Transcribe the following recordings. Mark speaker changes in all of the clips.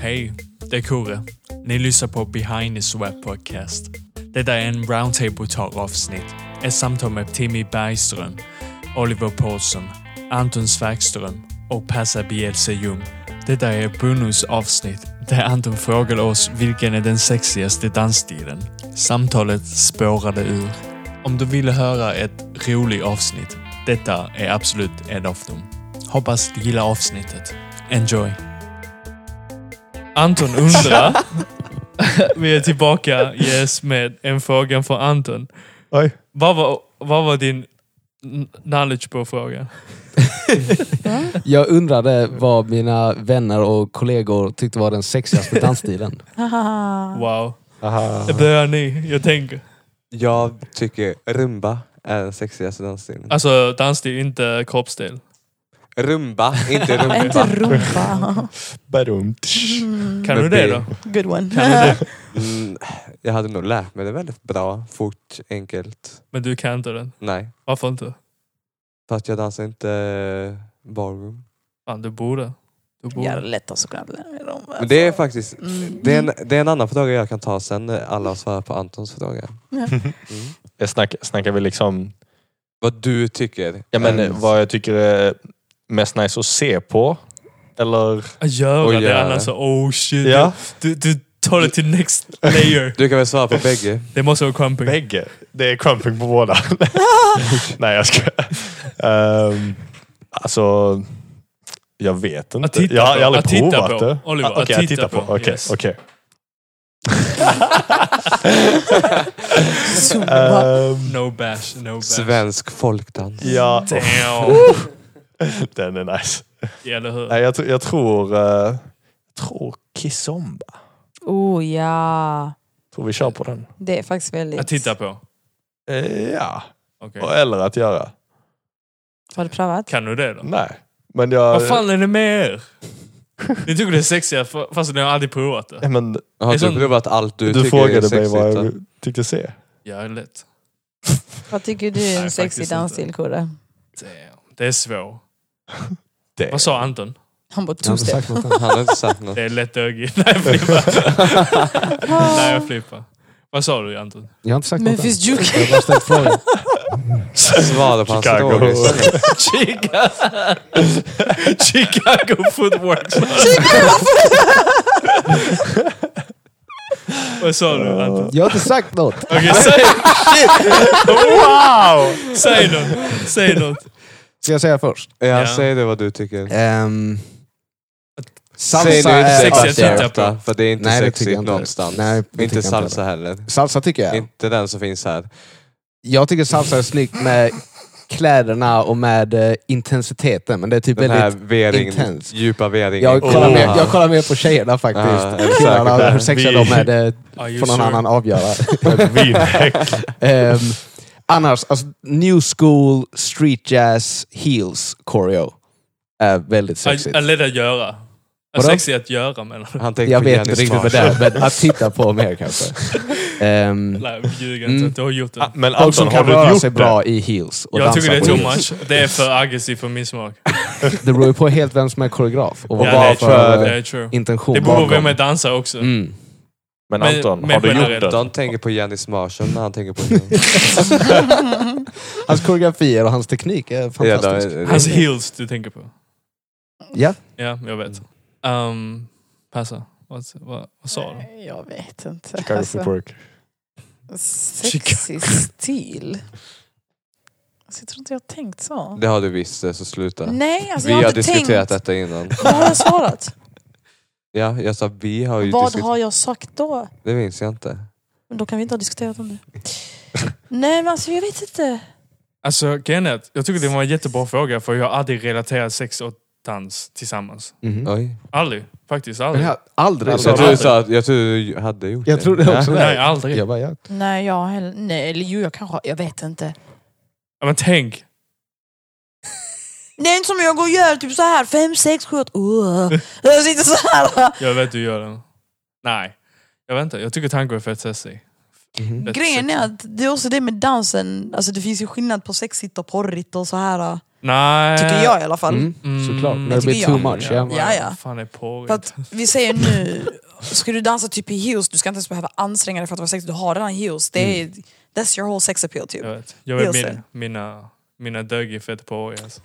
Speaker 1: Hej, det är Kure. Ni lyssnar på Behind the Sweat Podcast. Detta är en Roundtable Talk-avsnitt. Ett samtal med Timmy Bergström, Oliver Paulsson, Anton Sverkström och Passa Bielse Ljung. Detta är Brunos avsnitt där Anton frågade oss vilken är den sexigaste dansstilen. Samtalet spårade ur. Om du ville höra ett roligt avsnitt, detta är absolut ett av dem. Hoppas du gillar avsnittet. Enjoy! Anton undrar. Vi är tillbaka yes, med en fråga från Anton.
Speaker 2: Oj.
Speaker 1: Vad var, vad var din n- knowledge på frågan?
Speaker 3: Jag undrade vad mina vänner och kollegor tyckte var den sexigaste dansstilen.
Speaker 4: Haha.
Speaker 1: Wow.
Speaker 2: Aha.
Speaker 1: Det börjar ni, jag tänker.
Speaker 2: Jag tycker rumba är den sexigaste dansstilen.
Speaker 1: Alltså dansstil, inte kroppsdel.
Speaker 2: Rumba, inte rumba.
Speaker 4: Inte rumpa.
Speaker 5: Badumt.
Speaker 1: Kan
Speaker 2: Men
Speaker 1: du det
Speaker 2: det-
Speaker 1: då?
Speaker 4: Mm. Good one.
Speaker 1: Kan du det?
Speaker 2: Mm, jag hade nog lärt mig det väldigt bra, fort, enkelt.
Speaker 1: Men du kan inte den.
Speaker 2: Nej,
Speaker 1: Varför inte?
Speaker 2: för att jag dansar inte eh, ballroom.
Speaker 1: Fan, du borde. Du
Speaker 4: Jag är
Speaker 1: borde.
Speaker 4: lätt att såklart lära mig dem.
Speaker 2: Men det är faktiskt...
Speaker 4: Mm.
Speaker 2: Det är, en, det är en annan fråga jag kan ta sen när alla svarar på Antons fråga. Mm.
Speaker 5: Jag snack, snackar vi liksom,
Speaker 2: Vad du tycker.
Speaker 5: ja men
Speaker 2: Mm.
Speaker 5: vad jag tycker är mest nice att se på. Eller?
Speaker 1: Att göra
Speaker 2: Och
Speaker 1: det
Speaker 2: göra
Speaker 1: annars
Speaker 2: det.
Speaker 1: så, oh shit.
Speaker 5: Ja.
Speaker 1: Du, du tar det till next layer.
Speaker 2: Du kan väl svara på bägge?
Speaker 1: Det måste vara crumping.
Speaker 5: Bägge. Det är crumping på båda. Nej jag ska. Um, alltså, jag vet inte.
Speaker 1: Att titta
Speaker 5: jag, har- jag har
Speaker 1: på.
Speaker 5: aldrig
Speaker 1: Att titta
Speaker 5: provat
Speaker 1: på.
Speaker 5: det.
Speaker 1: Oliver,
Speaker 5: Ah, Okej,
Speaker 1: att
Speaker 5: att
Speaker 1: titta
Speaker 5: titta på.
Speaker 1: på.
Speaker 5: Okej,
Speaker 1: Yes.
Speaker 5: okej.
Speaker 4: Mm. Zumba.
Speaker 5: Ehm,
Speaker 1: No bash, no bash.
Speaker 2: Svensk folkdans.
Speaker 5: ja,
Speaker 1: Damn.
Speaker 5: den är nice.
Speaker 1: Ja, Eller hur?
Speaker 5: Nej, jag, tr- jag tror... eh, jag tror Kizomba.
Speaker 4: Oh ja.
Speaker 5: Tror vi kör på den.
Speaker 4: Det är faktiskt väldigt...
Speaker 1: Att titta på.
Speaker 5: Eh, ja.
Speaker 1: Okej.
Speaker 5: Och- Eller att göra.
Speaker 4: Har du provat?
Speaker 1: Kan du det då?
Speaker 5: Nej. Men jag...
Speaker 1: Vad fan är det med er? Ni tycker det är sexigare fa- fast ni har aldrig provat det.
Speaker 5: Eh, Men
Speaker 2: Har
Speaker 1: Det är
Speaker 2: du
Speaker 1: sån-
Speaker 2: provat allt du,
Speaker 5: du
Speaker 2: tycker är
Speaker 5: frågade mig
Speaker 2: sexigt?
Speaker 5: vad
Speaker 2: va?
Speaker 5: jag tyckte se.
Speaker 1: Ja, lätt.
Speaker 4: Vad tycker du är
Speaker 1: Nej,
Speaker 4: en sexig
Speaker 1: faktiskt
Speaker 4: dansstil, Kurre?
Speaker 1: Damn. Det är svårt.
Speaker 5: Det.
Speaker 1: Vad sa Anton?
Speaker 4: Han bara
Speaker 2: Jag har inte
Speaker 4: two-step.
Speaker 2: sagt något än. Han har inte sagt något.
Speaker 1: Det är lätt ögig. Nej, jag flippar. Nej, jag flippar. Vad sa du Anton?
Speaker 3: Jag har inte sagt något än.
Speaker 4: Memphis Duke.
Speaker 3: Jag har bara ställt frågan.
Speaker 2: Svara på hans
Speaker 5: Chicago.
Speaker 2: fråga istället.
Speaker 1: Chicago, Chicago Footworks. Vad sa du Anton?
Speaker 3: Jag har inte sagt något.
Speaker 1: Okej, säg,
Speaker 5: Wow!
Speaker 1: säg något. Säg något.
Speaker 3: Ska jag säga först?
Speaker 2: Jag
Speaker 1: Ja.
Speaker 2: säger det vad du tycker.
Speaker 3: Um,
Speaker 2: Ehm, Säg nu inte
Speaker 1: Sexiga
Speaker 2: sexigt
Speaker 1: sexigt att
Speaker 2: att
Speaker 1: titta
Speaker 2: titta
Speaker 1: på.
Speaker 2: på. För det är inte
Speaker 3: Nej, det tycker
Speaker 2: sexigt
Speaker 3: jag inte.
Speaker 2: någonstans.
Speaker 3: Nej, det tycker jag
Speaker 2: inte
Speaker 3: inte
Speaker 2: salsa heller.
Speaker 3: Salsa tycker jag.
Speaker 2: Inte den som finns här.
Speaker 3: Jag tycker salsa är snyggt med kläderna och med eh, intensiteten. Men det är typ
Speaker 2: Den här
Speaker 3: väldigt...
Speaker 2: V-ringen.
Speaker 3: intens.
Speaker 2: Djupa V-ringen.
Speaker 3: Jag kollar,
Speaker 5: Oh.
Speaker 3: mer, jag kollar mer på tjejerna
Speaker 2: Ja, jag är
Speaker 3: faktiskt.
Speaker 2: säker på
Speaker 3: Killarna,
Speaker 2: det.
Speaker 3: hur sexiga de är, det
Speaker 1: Are you
Speaker 3: får någon
Speaker 1: sure?
Speaker 3: annan avgöra.
Speaker 5: Vinäck.
Speaker 3: Ehm, annars, alltså, new school, street jazz, heels, choreo. Är väldigt sexigt.
Speaker 1: Att lätt att göra. Att
Speaker 3: Vadå?
Speaker 1: sexigt att göra menar du?
Speaker 2: Han tänker
Speaker 3: Jag
Speaker 2: på
Speaker 3: vet
Speaker 2: Jenny
Speaker 3: inte riktigt vad det
Speaker 2: Smarsh.
Speaker 3: är, men att titta på mer kanske. Ehm,
Speaker 1: Nej, ljuga
Speaker 3: Mm.
Speaker 1: inte. Du har gjort det.
Speaker 5: Men
Speaker 3: folk
Speaker 5: Anton,
Speaker 3: som
Speaker 5: har
Speaker 3: kan
Speaker 5: du
Speaker 3: röra
Speaker 5: gjort
Speaker 3: sig
Speaker 5: det?
Speaker 3: bra i heels och
Speaker 1: Jag
Speaker 3: dansa
Speaker 1: tycker det är
Speaker 3: på
Speaker 1: too
Speaker 3: heels.
Speaker 1: much. Det är för aggressivt för min smak.
Speaker 3: Det beror ju på helt vem som är koreograf och vad
Speaker 1: Ja,
Speaker 3: man
Speaker 1: det
Speaker 3: har
Speaker 1: är true.
Speaker 3: för
Speaker 1: Det, är true.
Speaker 3: intention
Speaker 1: det beror på vem
Speaker 3: bakom.
Speaker 1: är dansare också.
Speaker 3: Mm.
Speaker 5: Men
Speaker 1: Men-
Speaker 5: Anton,
Speaker 1: men
Speaker 5: har du
Speaker 1: generellt.
Speaker 5: gjort det?
Speaker 2: Anton tänker på Jenny Smarsh när han tänker på henne.
Speaker 3: Hans koreografier och hans teknik är
Speaker 2: Ja, då
Speaker 3: fantastisk.
Speaker 2: är det-
Speaker 1: Hans heels du tänker på.
Speaker 3: Ja.
Speaker 1: Ja, jag vet. Um, passa. Vad, vad, vad sa du?
Speaker 4: Nej, Jag vet inte.
Speaker 5: Chicago
Speaker 4: Alltså,
Speaker 5: footwork.
Speaker 4: Sexig stil. Alltså, jag tror inte jag har tänkt så.
Speaker 2: Det har du visst, så sluta.
Speaker 4: Nej, alltså
Speaker 2: Vi
Speaker 4: jag har
Speaker 2: har
Speaker 4: inte tänkt.
Speaker 2: diskuterat detta innan.
Speaker 4: Vad har jag svarat?
Speaker 2: Ja, jag sa vi har ju
Speaker 4: Vad
Speaker 2: diskuterat.
Speaker 4: har jag sagt då?
Speaker 2: Det minns jag inte.
Speaker 4: Men då kan vi inte ha diskuterat om det. Nej men alltså jag vet inte.
Speaker 1: Alltså Kenneth, jag tycker det var en jättebra fråga för jag har aldrig relaterat sex och dans tillsammans.
Speaker 3: Mhm.
Speaker 2: Oj.
Speaker 1: Aldrig. Faktiskt
Speaker 3: Men
Speaker 1: aldrig.
Speaker 3: jag har aldrig...
Speaker 2: Jag trodde Alltså, du sa att jag trodde du hade gjort
Speaker 3: Jag
Speaker 2: det.
Speaker 3: trodde också
Speaker 1: Nej,
Speaker 3: det.
Speaker 1: aldrig.
Speaker 3: Jag bara, ja.
Speaker 4: Nej jag heller. Nej eller jo jag kanske har- Jag vet inte.
Speaker 1: Ja, Men tänk.
Speaker 4: Det är inte som jag går och gör typ så här fem, sex, sju, åtta. Uh. Jag sitter så här.
Speaker 1: Jag vet du gör den. Nej. Jag vet inte. Jag tycker tango är fett sexig.
Speaker 3: Mhm.
Speaker 1: Fett
Speaker 4: Grejen
Speaker 1: sexig.
Speaker 4: är att det är också det med dansen. Alltså det finns ju skillnad på sexigt och porrigt och så här.
Speaker 1: Nej.
Speaker 4: Tycker jag i alla fall.
Speaker 3: Mm.
Speaker 1: Mm,
Speaker 3: Såklart, när det
Speaker 4: tycker
Speaker 3: blir too
Speaker 4: jag.
Speaker 3: much. Ja.
Speaker 4: Ja, ja.
Speaker 1: vad Fan är på
Speaker 4: För att vi säger nu, ska du dansa typ i heels, du ska inte ens behöva anstränga dig för att vara sexig. Du har redan heels. Det är, That's your whole sex appeal typ.
Speaker 1: Jag vet. Jag vet
Speaker 4: Heels
Speaker 1: min,
Speaker 4: är.
Speaker 1: mina, mina dög är fett på alltså.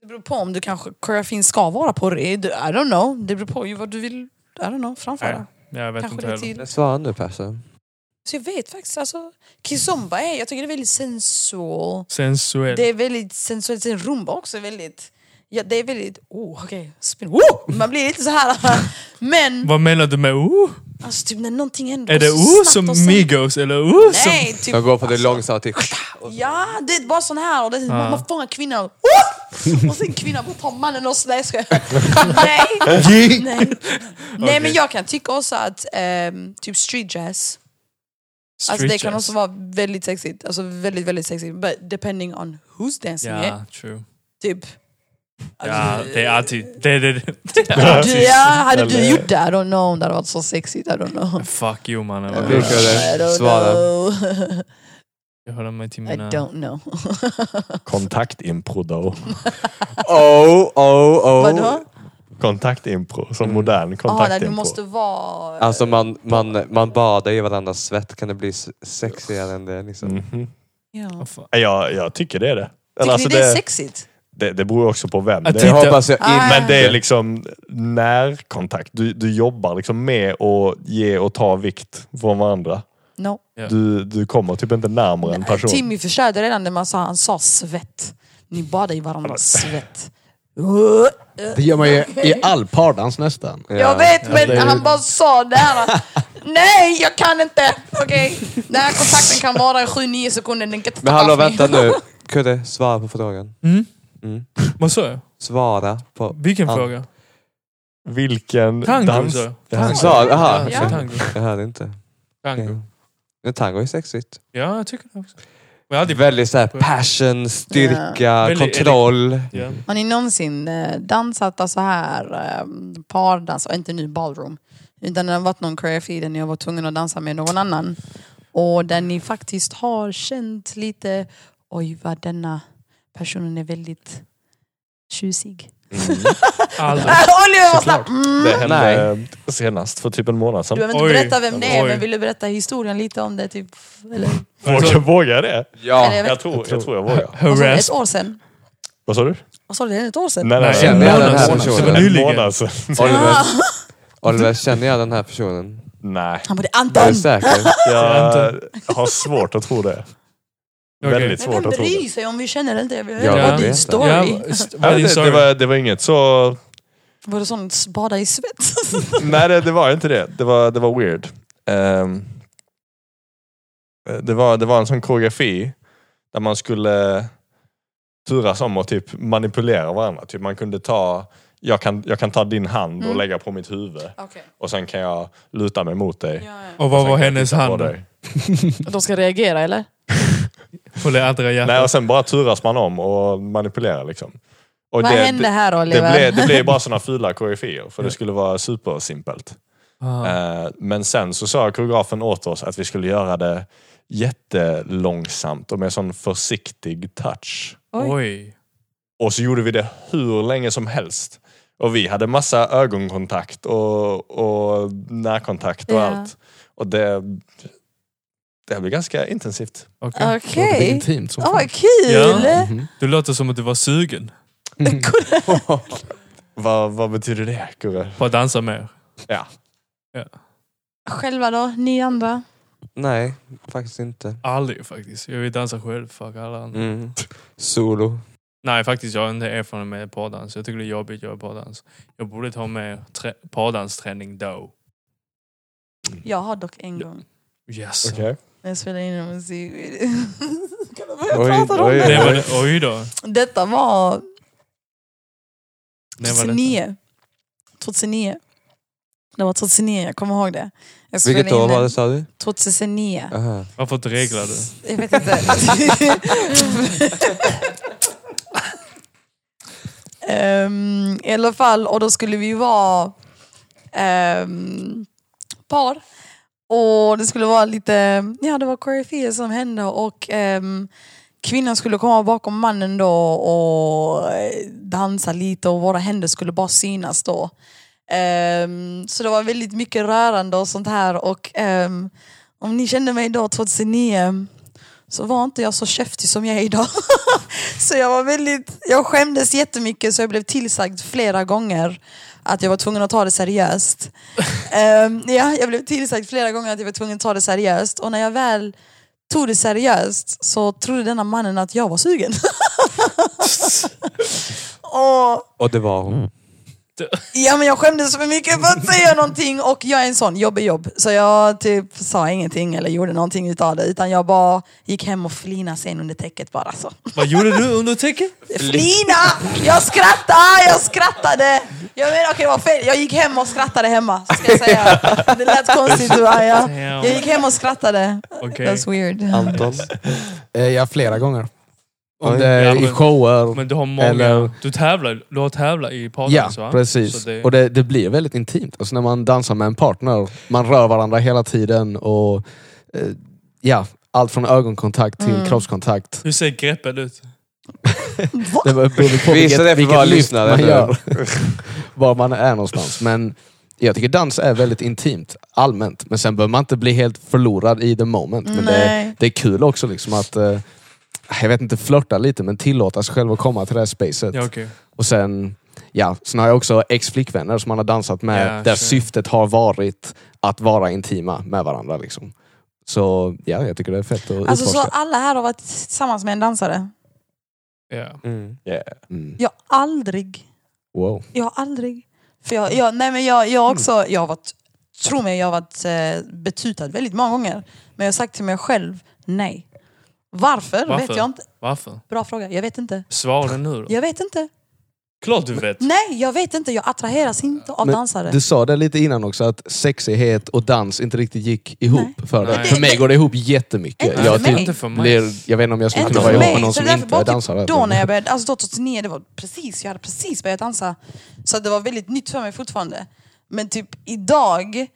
Speaker 4: Det beror på om du kanske, koreografin ska vara porrig. Du- I don't know. Det beror på ju vad du vill, I don't know, framföra.
Speaker 1: Nej, jag vet
Speaker 4: kanske
Speaker 1: inte
Speaker 4: det är
Speaker 1: heller.
Speaker 4: till...
Speaker 2: Men Svara nu Persen.
Speaker 4: Så jag vet faktiskt, alltså. Kizomba är, jag tycker det är väldigt sensual.
Speaker 1: Sensuell.
Speaker 4: Det är väldigt sensuellt. Sen rumba också är väldigt... Ja, det är väldigt... Oh, okej. Spin. Woo! Man blir lite så här... Men
Speaker 1: Vad menar du med oh?
Speaker 4: alltså, typ när någonting händer...
Speaker 1: Är det
Speaker 4: så snabbt
Speaker 1: oh som
Speaker 4: och sen-
Speaker 1: Migos eller oh som...
Speaker 4: Nej, typ...
Speaker 2: De går på det långsamt till...
Speaker 4: Ja, det är bara sån här. Och det är, man, man fångar kvinnan. Oh! Och sen kvinnan bara tar mannen och... Nej, jag skojar. Nej. Nej. Nej, men jag kan tycka också att ehm, typ street jazz... Alltså det
Speaker 1: Street
Speaker 4: kan
Speaker 1: jazz.
Speaker 4: också vara väldigt sexigt. Alltså väldigt, väldigt sexigt. But depending on who's dancing it.
Speaker 1: Ja, true.
Speaker 4: Typ.
Speaker 1: Ja, det är alltid... Det är det.
Speaker 4: Du, Alltså- ja, hade du
Speaker 5: Eller-
Speaker 4: gjort det? I don't know om det hade varit så sexigt. I don't know.
Speaker 1: Fuck you mannen.
Speaker 2: Jag brukar
Speaker 4: I
Speaker 2: det.
Speaker 4: don't
Speaker 2: Svara.
Speaker 4: know.
Speaker 1: Jag håller mig till
Speaker 4: I
Speaker 1: mina...
Speaker 4: don't know.
Speaker 5: Kontaktimpro då.
Speaker 2: Oh, oh, oh.
Speaker 4: Vadå?
Speaker 5: Kontaktimpro,
Speaker 1: Mm.
Speaker 5: som modern
Speaker 4: Ah, nej, du
Speaker 5: kontaktimpro.
Speaker 4: måste vara...
Speaker 2: Alltså man, man, man badar i varandras svett. Kan det bli s- sexigare än det liksom?
Speaker 5: Mhm.
Speaker 4: ja.
Speaker 1: Vad fan.
Speaker 5: jag, jag tycker det är det.
Speaker 4: Tycker
Speaker 5: Eller, alltså,
Speaker 4: ni det är
Speaker 5: det,
Speaker 4: sexigt?
Speaker 5: det, det beror också på vem.
Speaker 1: Att
Speaker 5: Det
Speaker 2: Det
Speaker 5: är,
Speaker 1: titta-
Speaker 2: hoppas jag
Speaker 4: Ah.
Speaker 2: inte.
Speaker 5: men det är liksom närkontakt. Du, du jobbar liksom med att ge och ta vikt från varandra.
Speaker 4: No.
Speaker 5: Du, du kommer typ inte närmare en person.
Speaker 4: Timmy förstörde redan det man sa. Han sa svett. Ni badar i varandras svett. Uh,
Speaker 3: Det gör man ju i all pardans nästan.
Speaker 4: Jag vet, men
Speaker 5: det är ju-
Speaker 4: han bara sa det här. Nej, jag kan inte! Okej. Den här kontakten kan vara i 7-9 sekunder. Den kan inte
Speaker 2: Men
Speaker 4: ta
Speaker 2: hallå
Speaker 4: av mig.
Speaker 2: vänta nu. Kudde, svara på frågan.
Speaker 1: Mm?
Speaker 2: Mm.
Speaker 1: Vad sa jag?
Speaker 2: Svara på...
Speaker 1: Vilken
Speaker 2: Ja.
Speaker 1: fråga?
Speaker 5: Vilken
Speaker 1: Tango
Speaker 5: dans...
Speaker 1: sa jag.
Speaker 2: Han
Speaker 5: Tango.
Speaker 2: sa... Aha.
Speaker 1: Ja,
Speaker 2: okej.
Speaker 1: Tango.
Speaker 2: Jag hörde inte.
Speaker 1: Tango.
Speaker 2: Men tango är sexigt.
Speaker 1: Ja, jag tycker det också. Men jag hade
Speaker 2: Väldigt så här passion, styrka,
Speaker 1: Väldigt-
Speaker 2: kontroll.
Speaker 1: Ja.
Speaker 4: Har ni någonsin eh, dansat alltså här, eh, pardans, och inte nu ballroom, utan det har varit någon koreografi där ni har varit tvungna att dansa med någon annan och där ni faktiskt har känt lite, oj vad denna personen är väldigt tjusig.
Speaker 1: Aldrig.
Speaker 4: Äh, Oliver var snabb! Mm.
Speaker 5: Det hände
Speaker 2: Nej.
Speaker 5: senast för typ en månad
Speaker 4: Du
Speaker 5: sedan.
Speaker 4: behöver inte
Speaker 1: Oj.
Speaker 4: berätta vem det är,
Speaker 1: Oj.
Speaker 4: men vill du berätta historien lite om det? Typ, eller,
Speaker 5: Vågar, vågar jag det?
Speaker 4: eller jag vet,
Speaker 5: Jag tror jag, tror jag vågar.
Speaker 4: vad sa du, ett
Speaker 1: Harass.
Speaker 4: år sedan?
Speaker 5: Vad sa du?
Speaker 4: Vad sa du, det är ett år sedan?
Speaker 5: Nej, nej,
Speaker 1: Nej,
Speaker 2: Känner
Speaker 5: nej.
Speaker 2: jag den här
Speaker 1: Månad.
Speaker 2: personen?
Speaker 1: Det var
Speaker 5: En
Speaker 1: nyligen.
Speaker 5: månad sedan.
Speaker 2: Oliver, Oliver, känner jag den här personen?
Speaker 5: Nej,
Speaker 4: Han bara, det är
Speaker 2: Är du
Speaker 4: Anton!
Speaker 2: säker?
Speaker 5: jag har svårt att tro det.
Speaker 1: Okej.
Speaker 5: Väldigt
Speaker 4: Men vem
Speaker 5: svårt att tro det.
Speaker 4: bryr sig om vi känner eller inte? Jag vill
Speaker 2: Ja,
Speaker 4: höra
Speaker 2: jag
Speaker 4: din
Speaker 2: vet.
Speaker 4: story.
Speaker 1: Ja, st- vad
Speaker 5: Ja,
Speaker 1: är din
Speaker 5: det,
Speaker 1: story?
Speaker 5: det, var, det var inget så...
Speaker 4: Var det sån bada i svett?
Speaker 5: Nej, det, det var inte det. Det var, det var weird. Ehm, det, var, det var en sån koreografi där man skulle turas om och typ manipulera varandra. Typ man kunde ta... Jag kan, jag kan ta din hand och
Speaker 4: Mm.
Speaker 5: lägga på mitt huvud
Speaker 4: Okej.
Speaker 5: och sen kan jag luta mig mot dig.
Speaker 1: Och vad
Speaker 5: Sen
Speaker 1: var
Speaker 5: kan jag
Speaker 1: hennes
Speaker 5: titta på
Speaker 1: hand?
Speaker 5: dig.
Speaker 4: De ska reagera eller?
Speaker 1: På det andra
Speaker 5: Nej, alltså-
Speaker 1: hjärtat?
Speaker 5: och sen bara turas man om och manipulerar liksom. Och
Speaker 4: Vad
Speaker 5: det,
Speaker 4: hände här
Speaker 5: Det, det,
Speaker 4: Oliver?
Speaker 5: blev, det blev bara såna fula koreografier för det skulle vara supersimpelt.
Speaker 1: Ah.
Speaker 5: Eh, Men sen så sa koreografen åt oss att vi skulle göra det jättelångsamt och med sån försiktig touch.
Speaker 4: Oj.
Speaker 1: Oj.
Speaker 5: Och så gjorde vi det hur länge som helst. Och vi hade massa ögonkontakt och, och närkontakt och
Speaker 4: Ja.
Speaker 5: allt. Och det, det blev ganska intensivt.
Speaker 1: Okej.
Speaker 3: Det är
Speaker 4: Okej.
Speaker 3: intimt som
Speaker 4: Åh,
Speaker 3: fan.
Speaker 4: vad kul!
Speaker 1: Ja.
Speaker 3: Mhm.
Speaker 1: Du låter som att du var sugen Mm.
Speaker 5: Vad, vad betyder det, Kurre?
Speaker 1: på att dansa mer.
Speaker 5: Ja.
Speaker 4: Själva då, ni andra?
Speaker 2: Nej, faktiskt inte.
Speaker 1: Aldrig faktiskt. Jag vill dansa själv. Fuck alla andra.
Speaker 2: Mm. Solo.
Speaker 1: Nej, faktiskt. Jag har inte erfarenhet med pardans. Jag tycker det är jobbigt att göra pardans. Jag borde ta med trä- pardansträning då.
Speaker 4: Jag har dock en gång.
Speaker 1: Yes.
Speaker 5: Okej.
Speaker 4: när Jag spelade in en musik. Kan du
Speaker 2: Oj,
Speaker 4: börja prata om
Speaker 2: oj,
Speaker 1: Det
Speaker 4: det?
Speaker 1: var det. Oj då.
Speaker 4: Detta var
Speaker 1: Det var det.
Speaker 4: 2009. 2009. Det var 2009, jag kommer ihåg det. Jag spelade
Speaker 2: Vilket år
Speaker 4: in
Speaker 2: var
Speaker 4: en-
Speaker 2: det sa du?
Speaker 4: 2009.
Speaker 2: Aha.
Speaker 1: Varför reglar du?
Speaker 4: Jag vet inte. Ehm, I alla fall, och då skulle vi vara ehm, par. Och det skulle vara lite, ja det var koreografier som hände och ehm, kvinnan skulle komma bakom mannen då och eh, dansa lite och våra händer skulle bara synas då. Ehm, så det var väldigt mycket rörande och sånt här och ehm, om ni kände mig då 2009 så var inte jag så käftig som jag är idag. så jag var väldigt, jag skämdes jättemycket så jag blev tillsagd flera gånger att jag var tvungen att ta det seriöst. Ehm, ja, jag blev tillsagd flera gånger att jag var tvungen att ta det seriöst och när jag väl tog det seriöst så trodde denna mannen att jag var sugen. och,
Speaker 2: Och det var hon.
Speaker 4: ja men jag skämdes för mycket för att säga någonting och jag är en sån, jobb är jobb. Så jag typ sa ingenting eller gjorde någonting utav det utan jag bara gick hem och flinade sen under täcket bara så.
Speaker 1: Vad gjorde du under täcket?
Speaker 4: Flina! Jag skrattade, jag skrattade! Jag menar okej det var fel, jag gick hem och skrattade hemma. så Ska jag säga. Det lät konstigt va? Ja. Jag gick hem och skrattade.
Speaker 1: Okej.
Speaker 4: That's weird.
Speaker 2: Anton.
Speaker 3: Eh, ja, flera gånger. Om
Speaker 2: Oj.
Speaker 3: det är
Speaker 1: Ja,
Speaker 3: i
Speaker 1: men-
Speaker 3: shower.
Speaker 1: Men du har många...
Speaker 3: Eller-
Speaker 1: Du tävlar Du har tävlat i
Speaker 3: ja,
Speaker 1: Paradise va?
Speaker 3: precis.
Speaker 1: Så det-
Speaker 3: Och det, det blir väldigt intimt. Alltså när man dansar med en partner. Man rör varandra hela tiden och eh, ja, allt från ögonkontakt till
Speaker 4: Mm.
Speaker 3: kroppskontakt.
Speaker 1: Hur ser greppet ut?
Speaker 4: Va?
Speaker 3: Det var- beror på
Speaker 2: Visa det
Speaker 3: vilket,
Speaker 2: för våra
Speaker 3: vilket lyft
Speaker 2: lyssnare
Speaker 3: man
Speaker 2: nu.
Speaker 3: gör. var man är någonstans. Men jag tycker dans är väldigt intimt allmänt. Men sen behöver man inte bli helt förlorad i the moment. Men det,
Speaker 4: Nej.
Speaker 3: det är kul också liksom att, eh, jag vet inte, flörta lite men tillåta sig själv att komma till det här spacet.
Speaker 1: Ja, okej.
Speaker 3: Och sen, ja, sen har jag också ex-flickvänner som man har dansat med
Speaker 1: Ja,
Speaker 3: där
Speaker 1: sure.
Speaker 3: syftet har varit att vara intima med varandra. Liksom. Så ja, jag tycker det är fett att
Speaker 4: Alltså så
Speaker 3: utforska.
Speaker 4: alla här har varit tillsammans med en dansare?
Speaker 1: Ja.
Speaker 2: Mm.
Speaker 3: Mm.
Speaker 4: Jag har aldrig.
Speaker 3: Wow.
Speaker 4: Jag har aldrig. För jag, jag, nej men jag, jag också, jag har varit, tro mig, jag har varit eh, betutad väldigt många gånger. Men jag har sagt till mig själv, nej. Varför?
Speaker 1: Varför?
Speaker 4: Vet jag inte.
Speaker 1: Varför?
Speaker 4: Bra fråga, jag vet inte.
Speaker 1: Svara nu då.
Speaker 4: Jag vet inte.
Speaker 1: Klart du vet.
Speaker 4: Nej, jag vet inte. Jag attraheras inte av
Speaker 3: Men
Speaker 4: dansare.
Speaker 3: Du sa det lite innan också, att sexighet och dans inte riktigt gick ihop för dig.
Speaker 1: Nej.
Speaker 3: För mig
Speaker 4: Det-
Speaker 3: går det ihop jättemycket.
Speaker 4: Inte
Speaker 3: jag,
Speaker 4: för mig.
Speaker 1: Inte för mig.
Speaker 3: typ Blir, jag vet inte om jag skulle
Speaker 4: Inte
Speaker 3: kunna
Speaker 4: för
Speaker 3: vara ihop
Speaker 4: mig.
Speaker 3: med någon
Speaker 4: Så
Speaker 3: som
Speaker 4: det är därför
Speaker 3: inte är
Speaker 4: bara
Speaker 3: dansare.
Speaker 4: typ då när jag började, alltså då 2009, det var precis, jag hade precis börjat dansa. Så det var väldigt nytt för mig fortfarande. Men typ idag,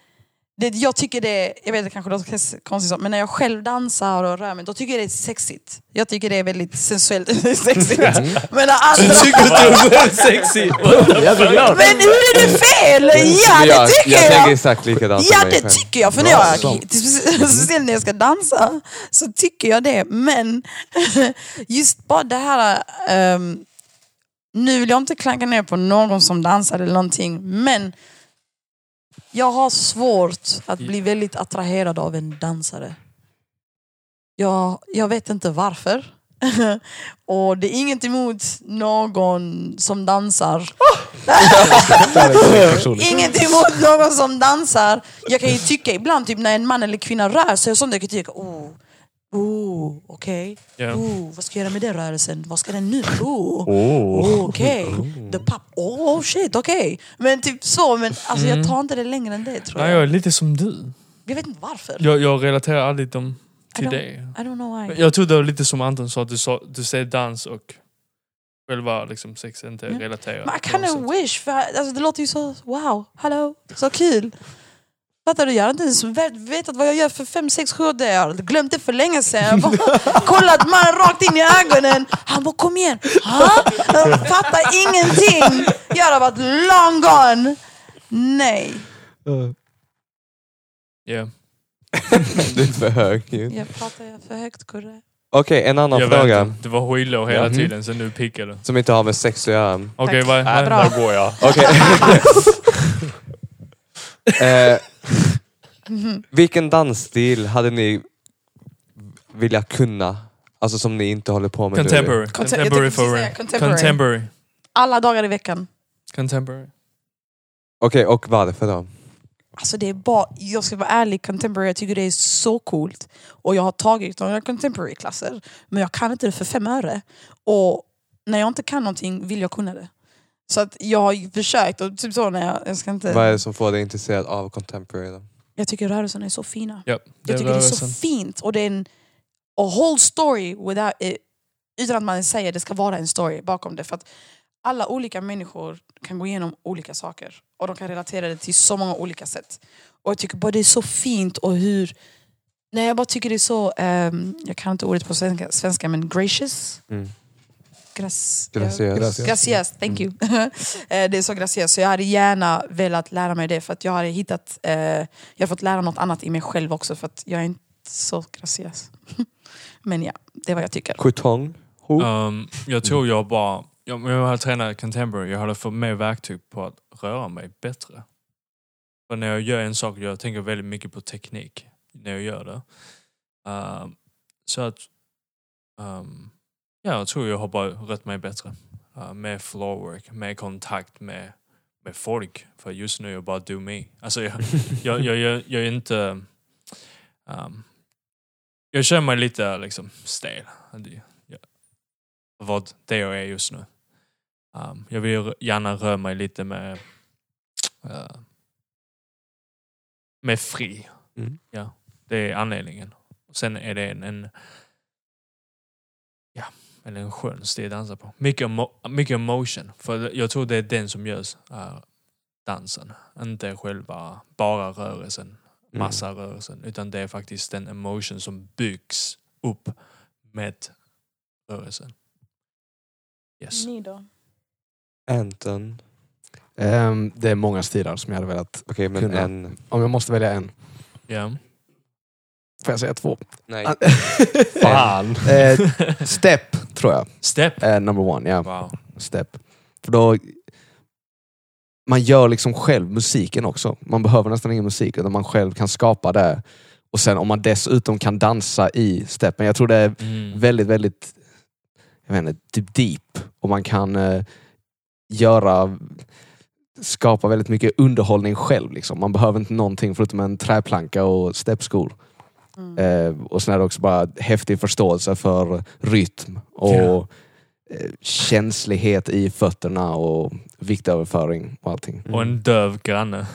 Speaker 4: det, jag tycker det, jag vet det kanske låter konstigt så, men när jag själv dansar och rör mig, då tycker jag det är sexigt. Jag tycker det är väldigt sensuellt sexigt. Men när andra...
Speaker 1: Tycker du är själv sexig?
Speaker 3: Jag är så glad.
Speaker 4: Men hur är det fel? Ja,
Speaker 2: Men jag,
Speaker 4: det tycker
Speaker 2: Mm. jag
Speaker 4: jag!
Speaker 2: tänker exakt likadant
Speaker 4: Ja
Speaker 2: om mig
Speaker 4: det
Speaker 2: själv.
Speaker 4: tycker jag, för när jag, speciellt när jag ska dansa så tycker jag det. Men just bara det här, ehm, nu vill jag inte klanka ner på någon som dansar eller någonting, men jag har svårt att bli väldigt attraherad av en dansare. Jag, jag vet inte varför. Och det är inget emot någon som dansar.
Speaker 3: Där är det personligt.
Speaker 4: Inget emot någon som dansar. Jag kan ju tycka ibland typ när en man eller kvinna rör sig och sånt, jag kan tycka oh, oh, okej.
Speaker 1: Ja.
Speaker 4: Oh, vad ska jag göra med den rörelsen? Vad ska den nu? Oh, oh okej. The pop. Oh shit, okej. Men typ så, men alltså jag tar inte det längre än det tror
Speaker 1: Nej, jag
Speaker 4: jag.
Speaker 1: är lite som du.
Speaker 4: Jag vet inte varför.
Speaker 1: Jag, jag relaterar aldrig dem till
Speaker 4: I don't-
Speaker 1: dig.
Speaker 4: I don't know why.
Speaker 1: Jag tror det var lite som Anton sa, att du, sa, du säger dans och själva liksom sex är inte
Speaker 4: Ja.
Speaker 1: relaterat.
Speaker 4: Men I
Speaker 1: på
Speaker 4: kind
Speaker 1: något
Speaker 4: of
Speaker 1: sätt.
Speaker 4: wish, för alltså, det låter ju så wow, hello, så kul. Fattar du? Jag har inte ens vet- vetat vad jag gör för fem, sex, sju år. där. Jag har glömt det för länge sedan. Jag bara kollat man rakt in i ögonen. Han bara kom igen. Ha? Jag fattar ingenting. Jag har varit long gone. Nej. Mm.
Speaker 1: Ja.
Speaker 2: Du är för högljudd.
Speaker 4: Jag pratar jag för högt, Kurre.
Speaker 2: Okej, en annan
Speaker 1: Jag vet
Speaker 2: fråga
Speaker 1: inte. Du var skitlåg hela
Speaker 2: Ja.
Speaker 3: Mm.
Speaker 1: tiden, så nu pickar du.
Speaker 2: som inte har med sex att göra.
Speaker 1: Okej,
Speaker 4: Tack.
Speaker 1: vad
Speaker 4: Bra.
Speaker 1: vad-
Speaker 5: Går jag.
Speaker 2: Okej. eh,
Speaker 4: Mhm.
Speaker 2: vilken dansstil hade ni velat kunna? Alltså som ni inte håller på med
Speaker 1: Contemporary.
Speaker 4: Contem-
Speaker 1: Contemporary
Speaker 4: jag tänkte
Speaker 1: for
Speaker 4: precis
Speaker 1: real.
Speaker 4: säga contemporary.
Speaker 1: Contemporary.
Speaker 4: Alla dagar i veckan.
Speaker 1: Contemporary.
Speaker 2: nu. Okej, och varför då?
Speaker 4: Alltså det är bara, jag ska vara ärlig, contemporary, jag tycker det är så coolt. Och jag har tagit några contemporary-klasser, men jag kan inte det för fem öre. Och när jag inte kan någonting vill jag kunna det. Så att jag har ju försökt, och typ så när jag, jag ska
Speaker 2: Vad är
Speaker 4: inte...
Speaker 2: det som får dig intresserad av contemporary? Då?
Speaker 4: Jag tycker rörelserna är så fina.
Speaker 1: Ja, det
Speaker 4: Jag tycker det är så
Speaker 1: rörelsen.
Speaker 4: fint och det är en a whole story without it, utan att man säger det ska vara en story bakom det. För att alla olika människor kan gå igenom olika saker och de kan relatera det till så många olika sätt. Och jag tycker bara det är så fint och hur Nej, jag bara tycker det är så, ehm, jag kan inte ordet på svenska, svenska men gracious.
Speaker 2: Mm.
Speaker 4: Grac-
Speaker 2: Gracias.
Speaker 3: Gracias.
Speaker 4: Gracias, thank you. Eh, det är så gracias, så jag hade gärna velat lära mig det för att jag hade hittat, eh, jag har fått lära något annat i mig själv också för att jag är inte så gracias. men ja, det är vad jag tycker.
Speaker 2: Coutong. Ho.
Speaker 1: Ehm, jag tror jag bara, jag, men jag har tränat contemporary, jag hade fått mer verktyg på att röra mig bättre. För när jag gör en sak, jag tänker väldigt mycket på teknik när jag gör det. Ehm, så att, ehm, ja, jag tror jag har bara rört mig bättre. Uh, mer floorwork, mer kontakt med, med folk. För just nu är jag bara do me. Alltså jag, jag, jag, jag, jag är inte... ehm, jag känner mig lite liksom stel. Det- jag- Vad det jag är just nu. Ehm, jag vill gärna röra mig lite med... eh, med fri.
Speaker 2: Mm.
Speaker 1: Det är anledningen. Sen är det en... en ja, eller en skön stil att dansa på. Mycket, emo- mycket emotion. För jag tror det är den som görs. eh, dansen. Inte själva bara rörelsen
Speaker 2: Mm.
Speaker 1: massa rörelsen. Utan det är faktiskt den emotion som byggs upp med rörelsen. Yes.
Speaker 4: Ni då?
Speaker 2: Anton.
Speaker 3: Ehm, det är många stilar som jag hade velat...
Speaker 2: Okej, men
Speaker 3: Kunna.
Speaker 2: en...
Speaker 3: Om jag måste välja en.
Speaker 1: Ja.
Speaker 3: Får jag säga två?
Speaker 2: Nej.
Speaker 3: Ah.
Speaker 5: Fan!
Speaker 3: Eh, step, tror jag.
Speaker 1: Step.
Speaker 3: Eh, number one, ja.
Speaker 1: Wow.
Speaker 3: Step. För då... Man gör liksom själv musiken också. Man behöver nästan ingen musik, utan man själv kan skapa det. Och sen om man dessutom kan dansa i steppen. Jag tror det är
Speaker 1: Mm.
Speaker 3: väldigt, väldigt jag vet inte, typ deep. Och man kan eh, göra, skapa väldigt mycket underhållning själv. Liksom. Man behöver inte någonting förutom en träplanka och steppskor.
Speaker 4: Mm.
Speaker 3: Eh, och sen är det också bara häftig förståelse för rytm och
Speaker 1: Ja.
Speaker 3: eh, känslighet i fötterna och viktöverföring och allting.
Speaker 2: Mm.
Speaker 1: Och en döv granne.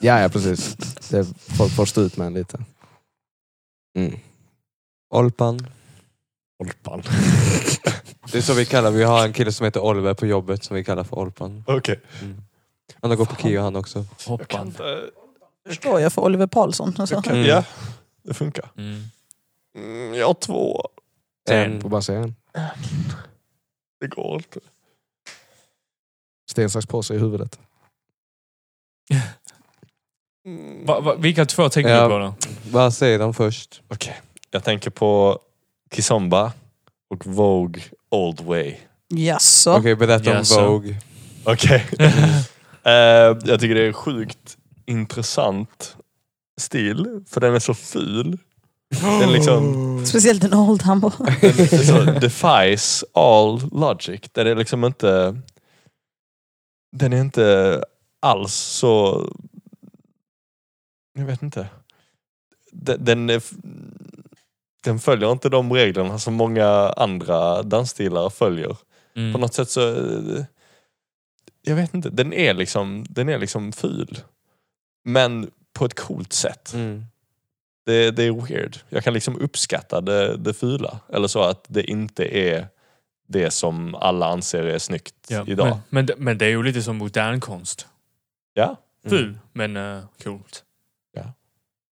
Speaker 3: Ja, ja precis. Det, folk får stå ut med en lite. Mm.
Speaker 2: Olpan.
Speaker 5: Olpan.
Speaker 2: Det är så vi kallar, vi har en kille som heter Oliver på jobbet som vi kallar för Olpan.
Speaker 5: Okej.
Speaker 2: Han har gått på KIO han också.
Speaker 5: Jag kan
Speaker 1: Hoppan.
Speaker 5: inte-
Speaker 4: Förstår jag för Oliver Paulsson alltså. och så.
Speaker 5: kan-
Speaker 2: Mm.
Speaker 5: Ja, det funkar.
Speaker 1: Mm.
Speaker 5: Mm, jag har två.
Speaker 2: En.
Speaker 3: Eh, Får bara säga en.
Speaker 5: Det går inte.
Speaker 3: Sten, sax, påse i huvudet.
Speaker 5: Mm.
Speaker 1: Va, va, vilka två tänker
Speaker 2: Ja.
Speaker 1: du på då?
Speaker 2: Vad säger de först?
Speaker 5: Jag tänker på Kizomba och Vogue Old Way.
Speaker 4: Jaså?
Speaker 2: Okej, berätta om
Speaker 1: Jaså.
Speaker 2: Vogue.
Speaker 5: Okej. Eh, jag tycker det är en sjukt intressant stil, för den är så ful. Den liksom
Speaker 4: Speciellt en oldham.
Speaker 5: den liksom- så defies all logic. Den är liksom inte... Den är inte alls så... Jag vet inte. Den, den, är, f- den följer inte de reglerna som många andra dansstilar följer på
Speaker 1: Mm.
Speaker 5: något sätt så... eh, Jag vet inte, den är liksom, den är liksom ful. Men på ett coolt sätt.
Speaker 2: Mm.
Speaker 5: Det, det är weird. Jag kan liksom uppskatta det, det fula. Eller så att det inte är det som alla anser är snyggt
Speaker 1: Ja.
Speaker 5: idag.
Speaker 1: Men, men, det- men det är ju lite som modern konst.
Speaker 5: Ja.
Speaker 1: Ful, men uh, coolt.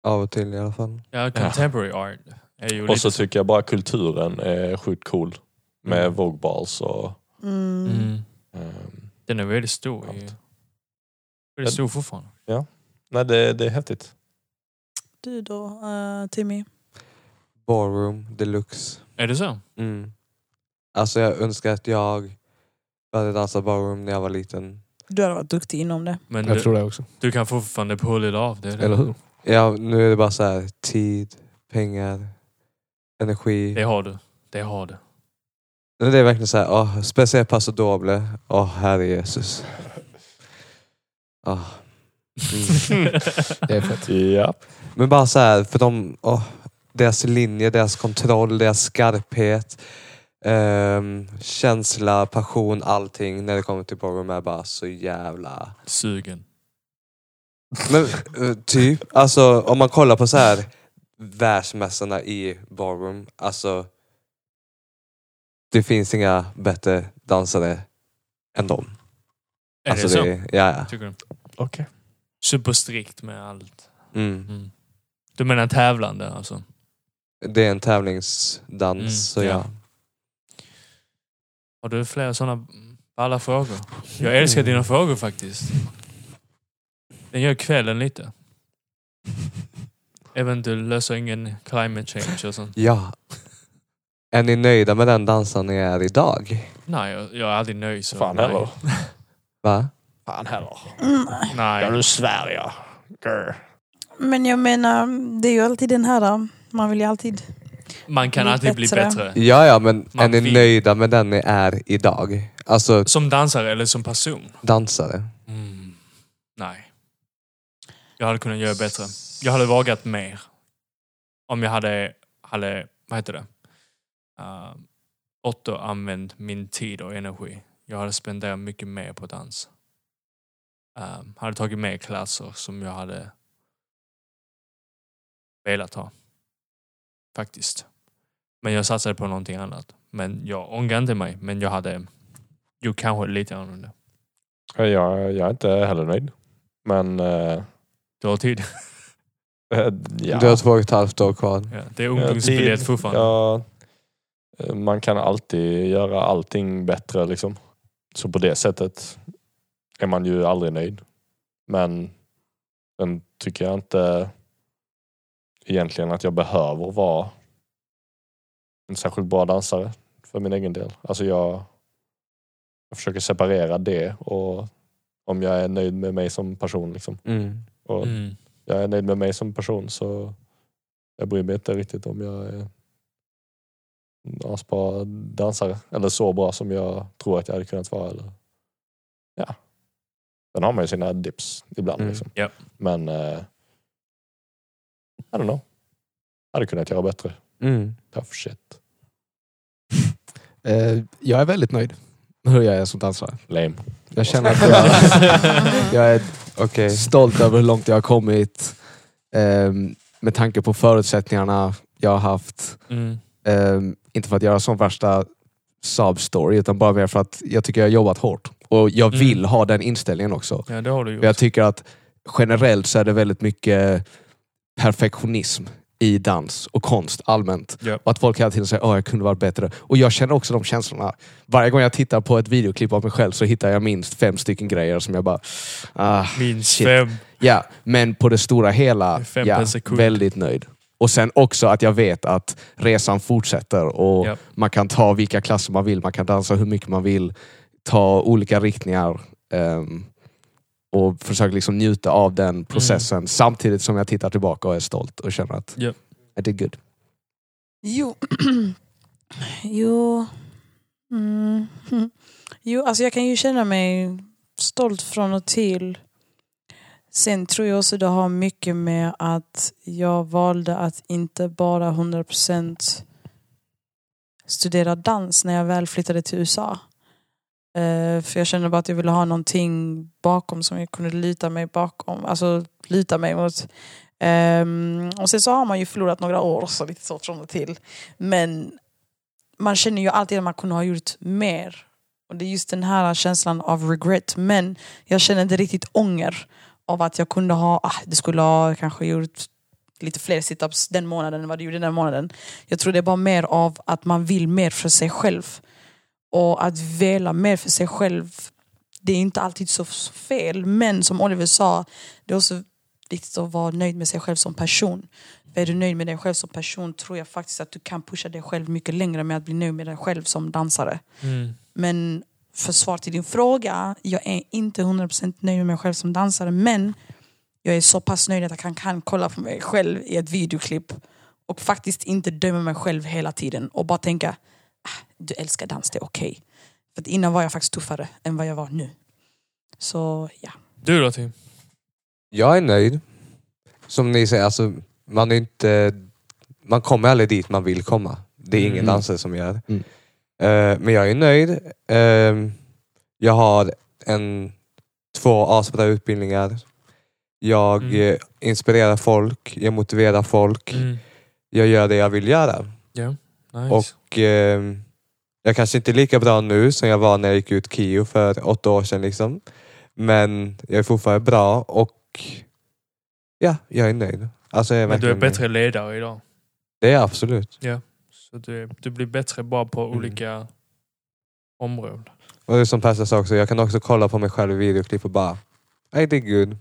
Speaker 2: Av och till i alla fall.
Speaker 1: Ja, contemporary art. Är ju
Speaker 5: Och så
Speaker 1: lite...
Speaker 5: tycker jag bara kulturen är sjukt cool. Med
Speaker 1: Mm.
Speaker 5: Vogue Balls och...
Speaker 4: Mm.
Speaker 1: mm.
Speaker 5: ehm,
Speaker 1: Den är väldigt stor. I... Väldigt stor fortfarande.
Speaker 5: nej, det, det är häftigt.
Speaker 4: Du då, eh, Timmy?
Speaker 2: Ballroom deluxe.
Speaker 1: Är det så?
Speaker 2: Mm. Alltså jag önskar att jag hade dansat ballroom när jag var liten.
Speaker 4: Du hade varit duktig inom det.
Speaker 1: Men
Speaker 3: Jag
Speaker 1: du,
Speaker 3: tror det också.
Speaker 1: du kan fortfarande pull it off. Det är det.
Speaker 3: Eller hur?
Speaker 2: Ja, nu är det bara så här tid, pengar, energi.
Speaker 1: Det har du. Det har du.
Speaker 2: Nej, Det är verkligen så här, åh, speciellt Paso Doble. Åh, herre Jesus. Åh.
Speaker 3: Mm. Det är fett.
Speaker 5: Ja.
Speaker 2: Men bara så här, för de, åh, deras linje, deras kontroll, deras skarphet. ehm, känsla, passion, allting när det kommer till Borgum är bara så jävla...
Speaker 1: Sugen.
Speaker 2: Men eh, typ, alltså om man kollar på så här världsmästarna i ballroom, alltså det finns inga bättre dansare än dem.
Speaker 1: Är
Speaker 2: alltså,
Speaker 1: det så? Typ.
Speaker 2: är- ja, ja.
Speaker 1: Tycker du?
Speaker 5: Okej.
Speaker 1: Superstrikt med allt.
Speaker 2: Mm.
Speaker 1: Mm. Du menar tävlande alltså?
Speaker 2: Det är en tävlingsdans.
Speaker 1: Mm,
Speaker 2: så
Speaker 1: ja.
Speaker 2: ja.
Speaker 1: Har du flera sådana alla frågor? Jag älskar dina frågor faktiskt. Den gör kvällen lite. Även du löser ingen climate change och sånt.
Speaker 2: ja. Är ni nöjda med den dansen ni är idag?
Speaker 1: Nej, jag, jag är aldrig nöjd. Så
Speaker 5: Fan
Speaker 1: nej.
Speaker 5: heller.
Speaker 2: Va?
Speaker 5: Fan heller.
Speaker 4: Mm,
Speaker 5: Ja
Speaker 1: Nej.
Speaker 5: du Sverige. Grr.
Speaker 4: Men jag menar, det är ju alltid den här... då. Man vill ju alltid...
Speaker 1: Man kan
Speaker 4: Bli
Speaker 1: alltid bli
Speaker 4: bättre.
Speaker 1: bättre.
Speaker 2: Ja, ja, men
Speaker 1: Man
Speaker 2: är ni
Speaker 1: vill-
Speaker 2: nöjda med den ni är idag? Alltså
Speaker 1: Som dansare eller som person?
Speaker 2: dansare.
Speaker 1: Mm. Nej. Jag hade kunnat göra bättre. Jag hade vågat mer. Om jag hade, hade vad heter det? Uh, återanvänt min tid och energi. Jag hade spenderat mycket mer på dans. Uh, hade tagit mer klasser som jag hade velat ha. Faktiskt. Men jag satsade på någonting annat. Men jag ångrar inte mig. Men jag hade gjort kanske lite annorlunda.
Speaker 5: Jag, jag är inte heller nöjd. Men... eh,
Speaker 1: Du har tid.
Speaker 5: eh, ja.
Speaker 2: Du har två och ett halvt år kvar.
Speaker 1: Ja, det är
Speaker 5: Ja,
Speaker 1: ungdomsbiljett
Speaker 5: tid.
Speaker 1: fortfarande.
Speaker 5: Ja, eh, man kan alltid göra allting bättre liksom. Så på det sättet är man ju aldrig nöjd. Men sen tycker jag inte egentligen att jag behöver vara en särskilt bra dansare för min egen del. Alltså jag, jag försöker separera det och om jag är nöjd med mig som person. Liksom.
Speaker 2: Mm.
Speaker 5: Och
Speaker 1: Mm.
Speaker 5: jag är nöjd med mig som person så jag bryr mig inte riktigt om jag är en asbra dansare eller så bra som jag tror att jag hade kunnat vara. Eller. Ja. Sen har man ju sina dips ibland.
Speaker 2: Mm.
Speaker 5: Liksom.
Speaker 1: Japp.
Speaker 5: Men eh, I don't know. Jag hade kunnat göra bättre.
Speaker 2: Mm.
Speaker 5: Tough shit.
Speaker 3: Eh, jag är väldigt nöjd med hur jag är som dansare.
Speaker 5: Lame.
Speaker 3: Jag känner att jag, jag är
Speaker 2: Okej.
Speaker 3: stolt över hur långt jag har kommit. ehm, med tanke på förutsättningarna jag har haft.
Speaker 1: Mm.
Speaker 3: Ehm, inte för att göra som värsta Saab-story, utan bara mer för att jag tycker jag har jobbat hårt. Och jag
Speaker 1: Mm.
Speaker 3: vill ha den inställningen också.
Speaker 1: Ja, det har du gjort.
Speaker 3: För jag tycker att generellt så är det väldigt mycket perfektionism i dans och konst allmänt.
Speaker 1: Ja.
Speaker 3: Och att folk hela tiden säger att jag kunde varit bättre. Och jag känner också de känslorna. Varje gång jag tittar på ett videoklipp av mig själv så hittar jag minst fem stycken grejer som jag bara... Ah,
Speaker 1: Minst
Speaker 3: shit.
Speaker 1: fem.
Speaker 3: Ja, men på det stora hela,
Speaker 1: Fem per
Speaker 3: ja,
Speaker 1: sekund.
Speaker 3: väldigt nöjd. Och sen också att jag vet att resan fortsätter och
Speaker 1: Japp.
Speaker 3: man kan ta vilka klasser man vill, man kan dansa hur mycket man vill, ta olika riktningar ehm, och försöka liksom njuta av den processen samtidigt som jag tittar tillbaka och är stolt och känner att
Speaker 1: Japp.
Speaker 3: I did good.
Speaker 4: Jo. jo. Mm. Jo, alltså jag kan ju känna mig stolt från och till. Sen tror jag också det har mycket med att jag valde att inte bara 100% studera dans när jag väl flyttade till USA. Eh, för jag kände bara att jag ville ha någonting bakom som jag kunde luta mig bakom, alltså luta mig mot. Ehm, och sen så har man ju förlorat några år så lite så från och till. Men man känner ju alltid att man kunde ha gjort mer. Och det är just den här känslan av regret. Men jag känner inte riktigt ånger av att jag kunde ha, ah, det skulle ha kanske gjort lite fler situps den månaden än vad du gjorde den månaden. Jag tror det är bara mer av att man vill mer för sig själv. Och att vela mer för sig själv, det är inte alltid så så fel. Men som Oliver sa, det är också viktigt att vara nöjd med sig själv som person. För är du nöjd med dig själv som person tror jag faktiskt att du kan pusha dig själv mycket längre med att bli nöjd med dig själv som dansare.
Speaker 1: Mm.
Speaker 4: Men för svar till din fråga, jag är inte 100% nöjd med mig själv som dansare men jag är så pass nöjd att jag kan, kan kolla på mig själv i ett videoklipp och faktiskt inte döma mig själv hela tiden och bara tänka ah, du älskar dans, det är okej. För att innan var jag faktiskt tuffare än vad jag var nu. Så ja.
Speaker 1: Du då Tim?
Speaker 2: Jag är nöjd. Som ni säger, alltså, man är inte... Man kommer aldrig dit man vill komma. Det är ingen
Speaker 3: Mm.
Speaker 2: dansare som gör.
Speaker 3: Mm.
Speaker 2: Eh, men jag är nöjd. Eh, jag har en, två asbra utbildningar. Jag
Speaker 1: Mm.
Speaker 2: eh, inspirerar folk, jag motiverar folk.
Speaker 1: Mm.
Speaker 2: Jag gör det jag vill göra.
Speaker 1: Nice.
Speaker 2: Och eh, jag kanske inte är lika bra nu som jag var när jag gick ut KIO för åtta år sedan. Liksom. Men jag är fortfarande bra och ja, jag är nöjd. Alltså, jag
Speaker 1: Men du är
Speaker 2: verkligen-
Speaker 1: bättre ledare idag.
Speaker 2: Det är jag absolut.
Speaker 1: Så du, är- du blir bättre bara på olika områden.
Speaker 2: Och det är som Persa sa också, jag kan också kolla på mig själv i videoklipp och bara I did good.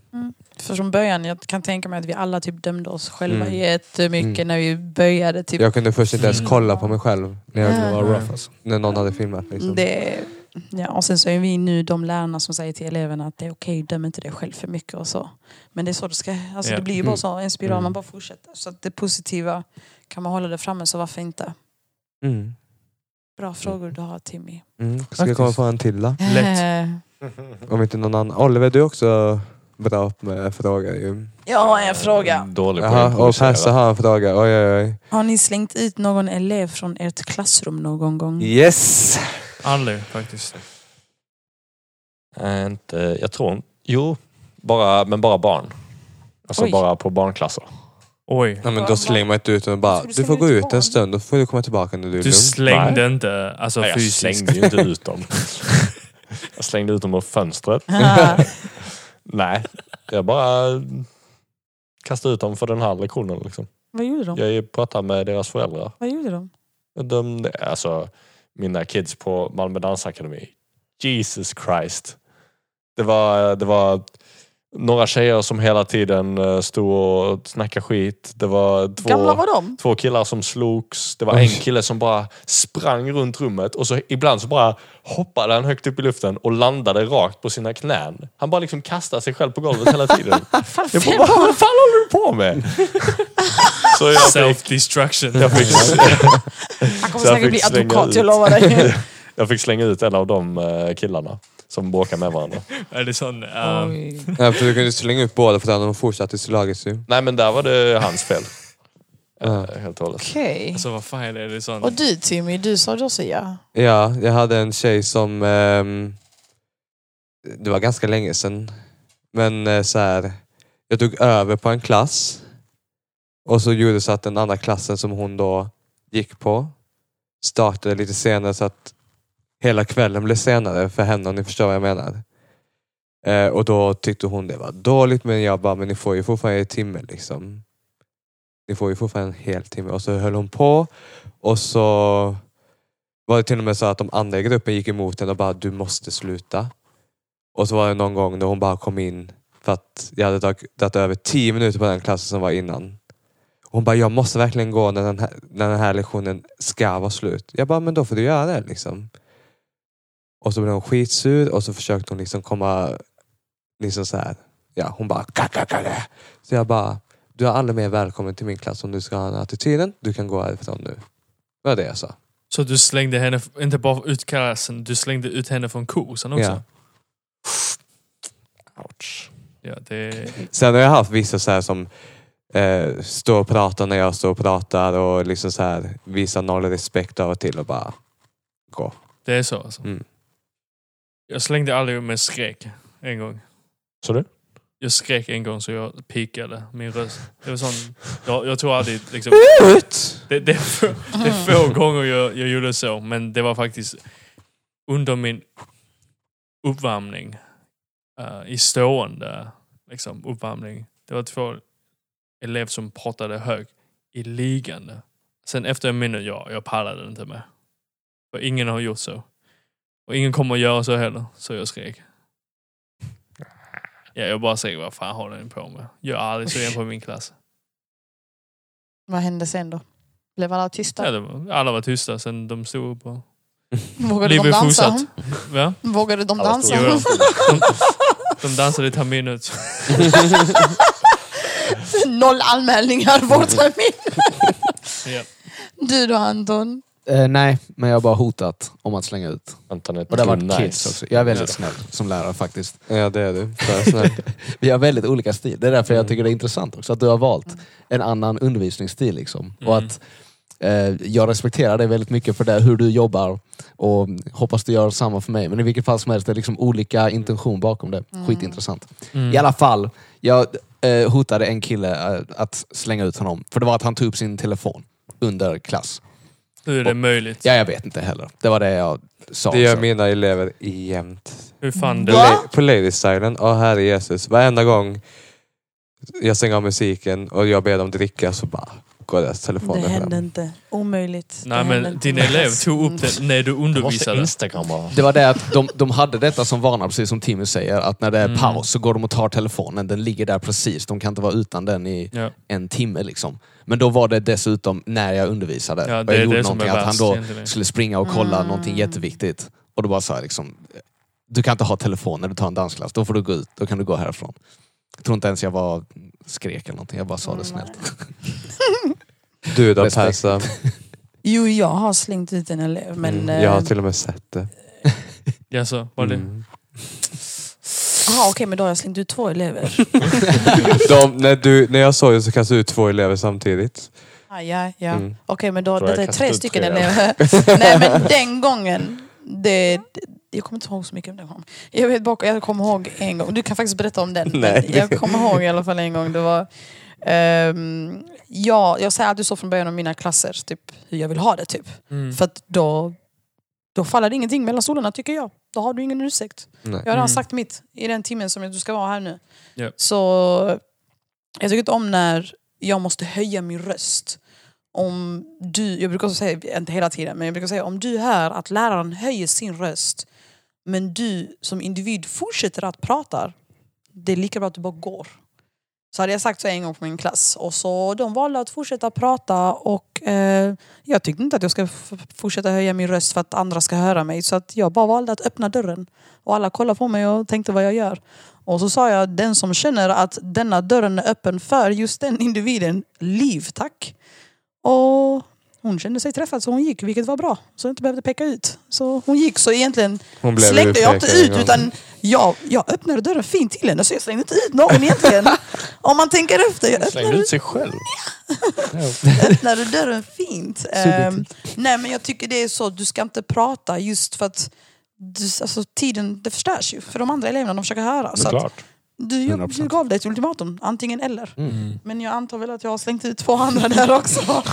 Speaker 4: För från början, jag kan tänka mig att vi alla typ dömde oss själva
Speaker 2: Mm.
Speaker 4: jättemycket
Speaker 2: Mm.
Speaker 4: när vi började. Typ.
Speaker 2: Jag kunde först inte ens
Speaker 1: Mm.
Speaker 2: kolla på mig själv när, jag
Speaker 4: Nej.
Speaker 2: var rough,
Speaker 1: alltså.
Speaker 2: när någon hade filmat. Liksom.
Speaker 4: det, ja, och sen så är vi nu de lärarna som säger till eleverna att det är okej, döm inte dig själv för mycket och så. Men det är så det ska, alltså
Speaker 1: Ja.
Speaker 4: det blir ju
Speaker 2: Mm.
Speaker 4: bara så, en spiral,
Speaker 2: Mm.
Speaker 4: man bara fortsätter. Så att det positiva, kan man hålla det framme så varför inte?
Speaker 2: Mm.
Speaker 4: Bra frågor du har Timmy.
Speaker 2: Mm. Ska vi komma på en till då?
Speaker 1: Lätt.
Speaker 4: Eh,
Speaker 2: Om inte någon annan. Oliver, du är också bra med frågor ju.
Speaker 4: Jag har en fråga.
Speaker 5: Eh, Dålig på att
Speaker 2: Jaha, och
Speaker 5: improvisera.
Speaker 2: Persa har en fråga. Oj, oj, oj.
Speaker 4: Har ni slängt ut någon elev från ert klassrum någon gång?
Speaker 2: Yes!
Speaker 1: Aldrig faktiskt.
Speaker 5: Nej, Eh, inte, jag tror inte. Jo, bara, men bara barn. Alltså
Speaker 4: Oj.
Speaker 5: bara på barnklasser.
Speaker 1: Oj.
Speaker 2: Nej, men då slänger man inte ut den och bara,
Speaker 4: Ska du
Speaker 2: du får
Speaker 4: slänga
Speaker 2: gå
Speaker 4: ut
Speaker 2: ut
Speaker 4: barn?
Speaker 2: en stund, då får du komma tillbaka när du är
Speaker 1: Du
Speaker 2: lugn.
Speaker 1: slängde inte alltså,
Speaker 5: Nej, jag
Speaker 1: fysiskt.
Speaker 5: slängde ju inte ut dem. jag slängde ut dem ur fönstret. Nej, jag bara eh, kastade ut dem för den här lektionen. Liksom.
Speaker 4: Vad gjorde de?
Speaker 5: Jag pratade med deras föräldrar.
Speaker 4: Vad gjorde de?
Speaker 5: Jag dömde, alltså mina kids på Malmö Dansakademi. Jesus Christ. Det var, det var några tjejer som hela tiden eh, stod och snackade skit. Det var två...
Speaker 4: Gamla var de?
Speaker 5: Två killar som slogs, det var
Speaker 2: Oj.
Speaker 5: en kille som bara sprang runt rummet och så ibland så bara hoppade han högt upp i luften och landade rakt på sina knän. Han bara liksom kastade sig själv på golvet hela tiden. Jag bara, vad fan håller du på med? Så jag fick,
Speaker 1: Self-destruction.
Speaker 5: jag fick,
Speaker 4: Han kommer
Speaker 5: Så jag
Speaker 4: säkert bli
Speaker 5: fick slänga
Speaker 4: advokat, jag
Speaker 5: ut.
Speaker 4: lovar dig.
Speaker 5: jag fick slänga ut en av de eh, killarna som bråkade med varandra.
Speaker 1: Är det sån, ehm,
Speaker 4: Oj.
Speaker 2: Ja, för du kunde slänga ut båda för att de fortsatte slagits ju.
Speaker 5: Nej men där var det hans fel.
Speaker 2: Ja.
Speaker 5: Eh, Helt och hållet.
Speaker 4: Okej.
Speaker 1: alltså vad fan är det? Är det sån,
Speaker 4: Och du Timmy, du sa då så ja.
Speaker 2: Ja, jag hade en tjej som... ehm, det var ganska länge sedan. Men eh, så här, jag tog över på en klass. Och så gjorde det så att den andra klassen som hon då gick på startade lite senare så att hela kvällen blev senare för henne om ni förstår vad jag menar. Eh, och då tyckte hon det var dåligt men jag bara, men ni får ju fortfarande en timme liksom. Ni får ju fortfarande en hel timme. Och så höll hon på och så var det till och med så att de andra i gruppen gick emot henne och bara du måste sluta. Och så var det någon gång när hon bara kom in för att jag hade drag- dragit över tio minuter på den klassen som var innan. Hon bara, jag måste verkligen gå när den, här, när den här lektionen ska vara slut. Jag bara, men då får du göra det liksom. Och så blev hon skitsur och så försökte hon liksom komma, liksom så här. Ja, hon bara, kakakaka. Så jag bara, du är aldrig mer välkommen till min klass om du ska ha den här attityden. Du kan gå härifrån nu. Det var det jag sa.
Speaker 1: så du slängde henne, inte bara ut klassen, du slängde ut henne från kursen också?
Speaker 2: Ja.
Speaker 5: Ouch.
Speaker 1: Ja, det,
Speaker 2: Sen har jag haft vissa så här som eh, står och pratar när jag står och pratar och liksom så här visar noll respekt av och till och bara gå.
Speaker 1: det är så alltså.
Speaker 2: Mm.
Speaker 1: Jag slängde aldrig med skrek en gång.
Speaker 5: Så du?
Speaker 1: Jag skrek en gång så jag pikade min röst. Det var sån, jag, jag tror aldrig liksom...
Speaker 2: Ut!
Speaker 1: Det, det, är få, det är få gånger jag, jag gjorde så, men det var faktiskt under min uppvärmning eh, i stående liksom, uppvärmning. Det var två elever som pratade högt i liggande. Sen efter en minut, jag, jag pallade inte med. För ingen har gjort så. Och ingen kommer att göra så heller, så jag skrek. Ja, jag bara skrek, vad fan håller ni på med? Gör aldrig så igen på min klass.
Speaker 4: Vad hände sen då? Blev alla tysta?
Speaker 1: Ja, det var, alla var tysta sen de stod upp och...
Speaker 4: Vågade de
Speaker 1: Livet
Speaker 4: dansa?
Speaker 1: fortsatt. Va?
Speaker 4: Vågade de
Speaker 5: Alla
Speaker 4: dansa?
Speaker 5: stod och
Speaker 1: De dansade i termin ut.
Speaker 4: Noll anmälningar vår termin.
Speaker 1: Ja.
Speaker 4: Du då Anton?
Speaker 3: Eh, nej, men jag har bara hotat om att slänga ut.
Speaker 5: Antoinette,
Speaker 3: Och det har
Speaker 5: du
Speaker 3: varit
Speaker 5: nice.
Speaker 3: kids också. Jag är väldigt snäll som lärare faktiskt.
Speaker 2: Ja det är du. Bara snäll.
Speaker 3: Vi har väldigt olika stil. Det är därför
Speaker 2: Mm.
Speaker 3: jag tycker det är intressant också att du har valt en annan undervisningsstil. Liksom. Och
Speaker 1: Mm.
Speaker 3: att eh, jag respekterar dig väldigt mycket för det, hur du jobbar och hoppas du gör samma för mig. Men i vilket fall som helst, det är liksom olika intention bakom det. Skitintressant.
Speaker 1: Mm.
Speaker 3: I alla fall, jag eh, hotade en kille eh, att slänga ut honom. För det var att han tog upp sin telefon under klass.
Speaker 1: Hur är det möjligt?
Speaker 3: Ja, jag vet inte heller. Det var det jag sa.
Speaker 2: Det gör
Speaker 3: Så-
Speaker 2: mina elever jämt.
Speaker 1: Hur fan det...
Speaker 2: På,
Speaker 4: Va?
Speaker 2: la- på Ladies Island, åh herre Jesus. Varenda gång Jag stänger av musiken och jag ber dem dricka så bara går deras telefoner
Speaker 4: Det
Speaker 2: fram.
Speaker 4: hände inte. Omöjligt.
Speaker 1: Nej
Speaker 4: Det hände
Speaker 1: men
Speaker 4: inte.
Speaker 1: din elev tog upp det när du
Speaker 6: måste
Speaker 1: undervisade.
Speaker 6: Instagram bara.
Speaker 3: Det var det att de, de hade detta som varnar, precis som Timmy säger, att när det är
Speaker 1: Mm.
Speaker 3: paus så går de och tar telefonen. Den ligger där precis. De kan inte vara utan den i
Speaker 1: Ja.
Speaker 3: en timme. Liksom. Men då var det dessutom när jag undervisade.
Speaker 1: Ja,
Speaker 3: och
Speaker 1: det
Speaker 3: jag
Speaker 1: är
Speaker 3: gjorde
Speaker 1: det som
Speaker 3: någonting
Speaker 1: är
Speaker 3: att han
Speaker 1: värst
Speaker 3: då
Speaker 1: egentligen.
Speaker 3: skulle springa och kolla
Speaker 4: Mm.
Speaker 3: någonting jätteviktigt. Och då bara så här, liksom, du kan inte ha telefon när du tar en dansklass. Då får du gå ut. Då kan du gå härifrån. Jag tror inte ens jag var skrek eller någonting. Jag bara sa det
Speaker 4: Mm.
Speaker 3: snällt.
Speaker 2: Du då
Speaker 3: Respekt.
Speaker 2: Persa?
Speaker 4: Jo, jag har slängt ut en elev men...
Speaker 2: Mm,
Speaker 4: eh,
Speaker 2: jag har till och med sett det.
Speaker 1: Ja, så var det.
Speaker 2: Mm.
Speaker 4: Jaha, okej men då har jag slängt ut två elever.
Speaker 2: De, när, du, när jag såg det så kastade du ut två elever samtidigt.
Speaker 4: Ah, ja, ja.
Speaker 2: Mm.
Speaker 4: Okej men då,
Speaker 6: Tror jag
Speaker 4: detta är
Speaker 6: kastat
Speaker 4: tre
Speaker 6: ut
Speaker 4: stycken
Speaker 6: tre, ja.
Speaker 4: elever. Nej men den gången, det, det, jag kommer inte ihåg så mycket om den gången. Jag vet bak, jag kommer ihåg en gång, du kan faktiskt berätta om den. men
Speaker 2: Nej.
Speaker 4: Jag kommer ihåg i alla fall en gång, det var ehm, ja, jag säger alltid så från början av mina klasser, typ hur jag vill ha det typ.
Speaker 1: Mm.
Speaker 4: För att då, då faller det ingenting mellan stolarna tycker jag. Då har du ingen ursäkt.
Speaker 2: Nej.
Speaker 4: Jag har redan
Speaker 1: Mm.
Speaker 4: sagt mitt i den timmen som du ska vara här nu.
Speaker 1: Ja.
Speaker 4: Så jag tycker inte om när jag måste höja min röst. Om du, jag brukar också säga, inte hela tiden, men jag brukar säga om du hör att läraren höjer sin röst men du som individ fortsätter att prata, det är lika bra att du bara går. Så hade jag sagt så en gång på min klass och så de valde att fortsätta prata och eh, jag tyckte inte att jag ska f- fortsätta höja min röst för att andra ska höra mig så att jag bara valde att öppna dörren. Och alla kollade på mig och tänkte vad jag gör. Och så sa jag, den som känner att denna dörren är öppen för just den individen, liv tack. Och hon kände sig träffad så hon gick, vilket var bra. Så jag inte behövde peka ut. Så hon gick, så egentligen
Speaker 2: Hon blev
Speaker 4: slängde jag inte
Speaker 2: utpekad en
Speaker 4: ut
Speaker 2: gång.
Speaker 4: utan jag, jag öppnade dörren fint till henne så jag slängde inte ut någon egentligen. Om man tänker efter. Jag öppnade
Speaker 6: Slängde ut sig själv.
Speaker 4: öppnade dörren fint. Ehm, nej men jag tycker det är så, du ska inte prata just för att du, alltså, tiden det förstörs ju för de andra eleverna, de försöker höra. Så att
Speaker 6: Såklart.
Speaker 4: du, jag, du
Speaker 3: 100%.
Speaker 4: gav dig ett ultimatum, antingen eller.
Speaker 1: Mm.
Speaker 4: Men jag antar väl att jag har slängt ut två andra där också.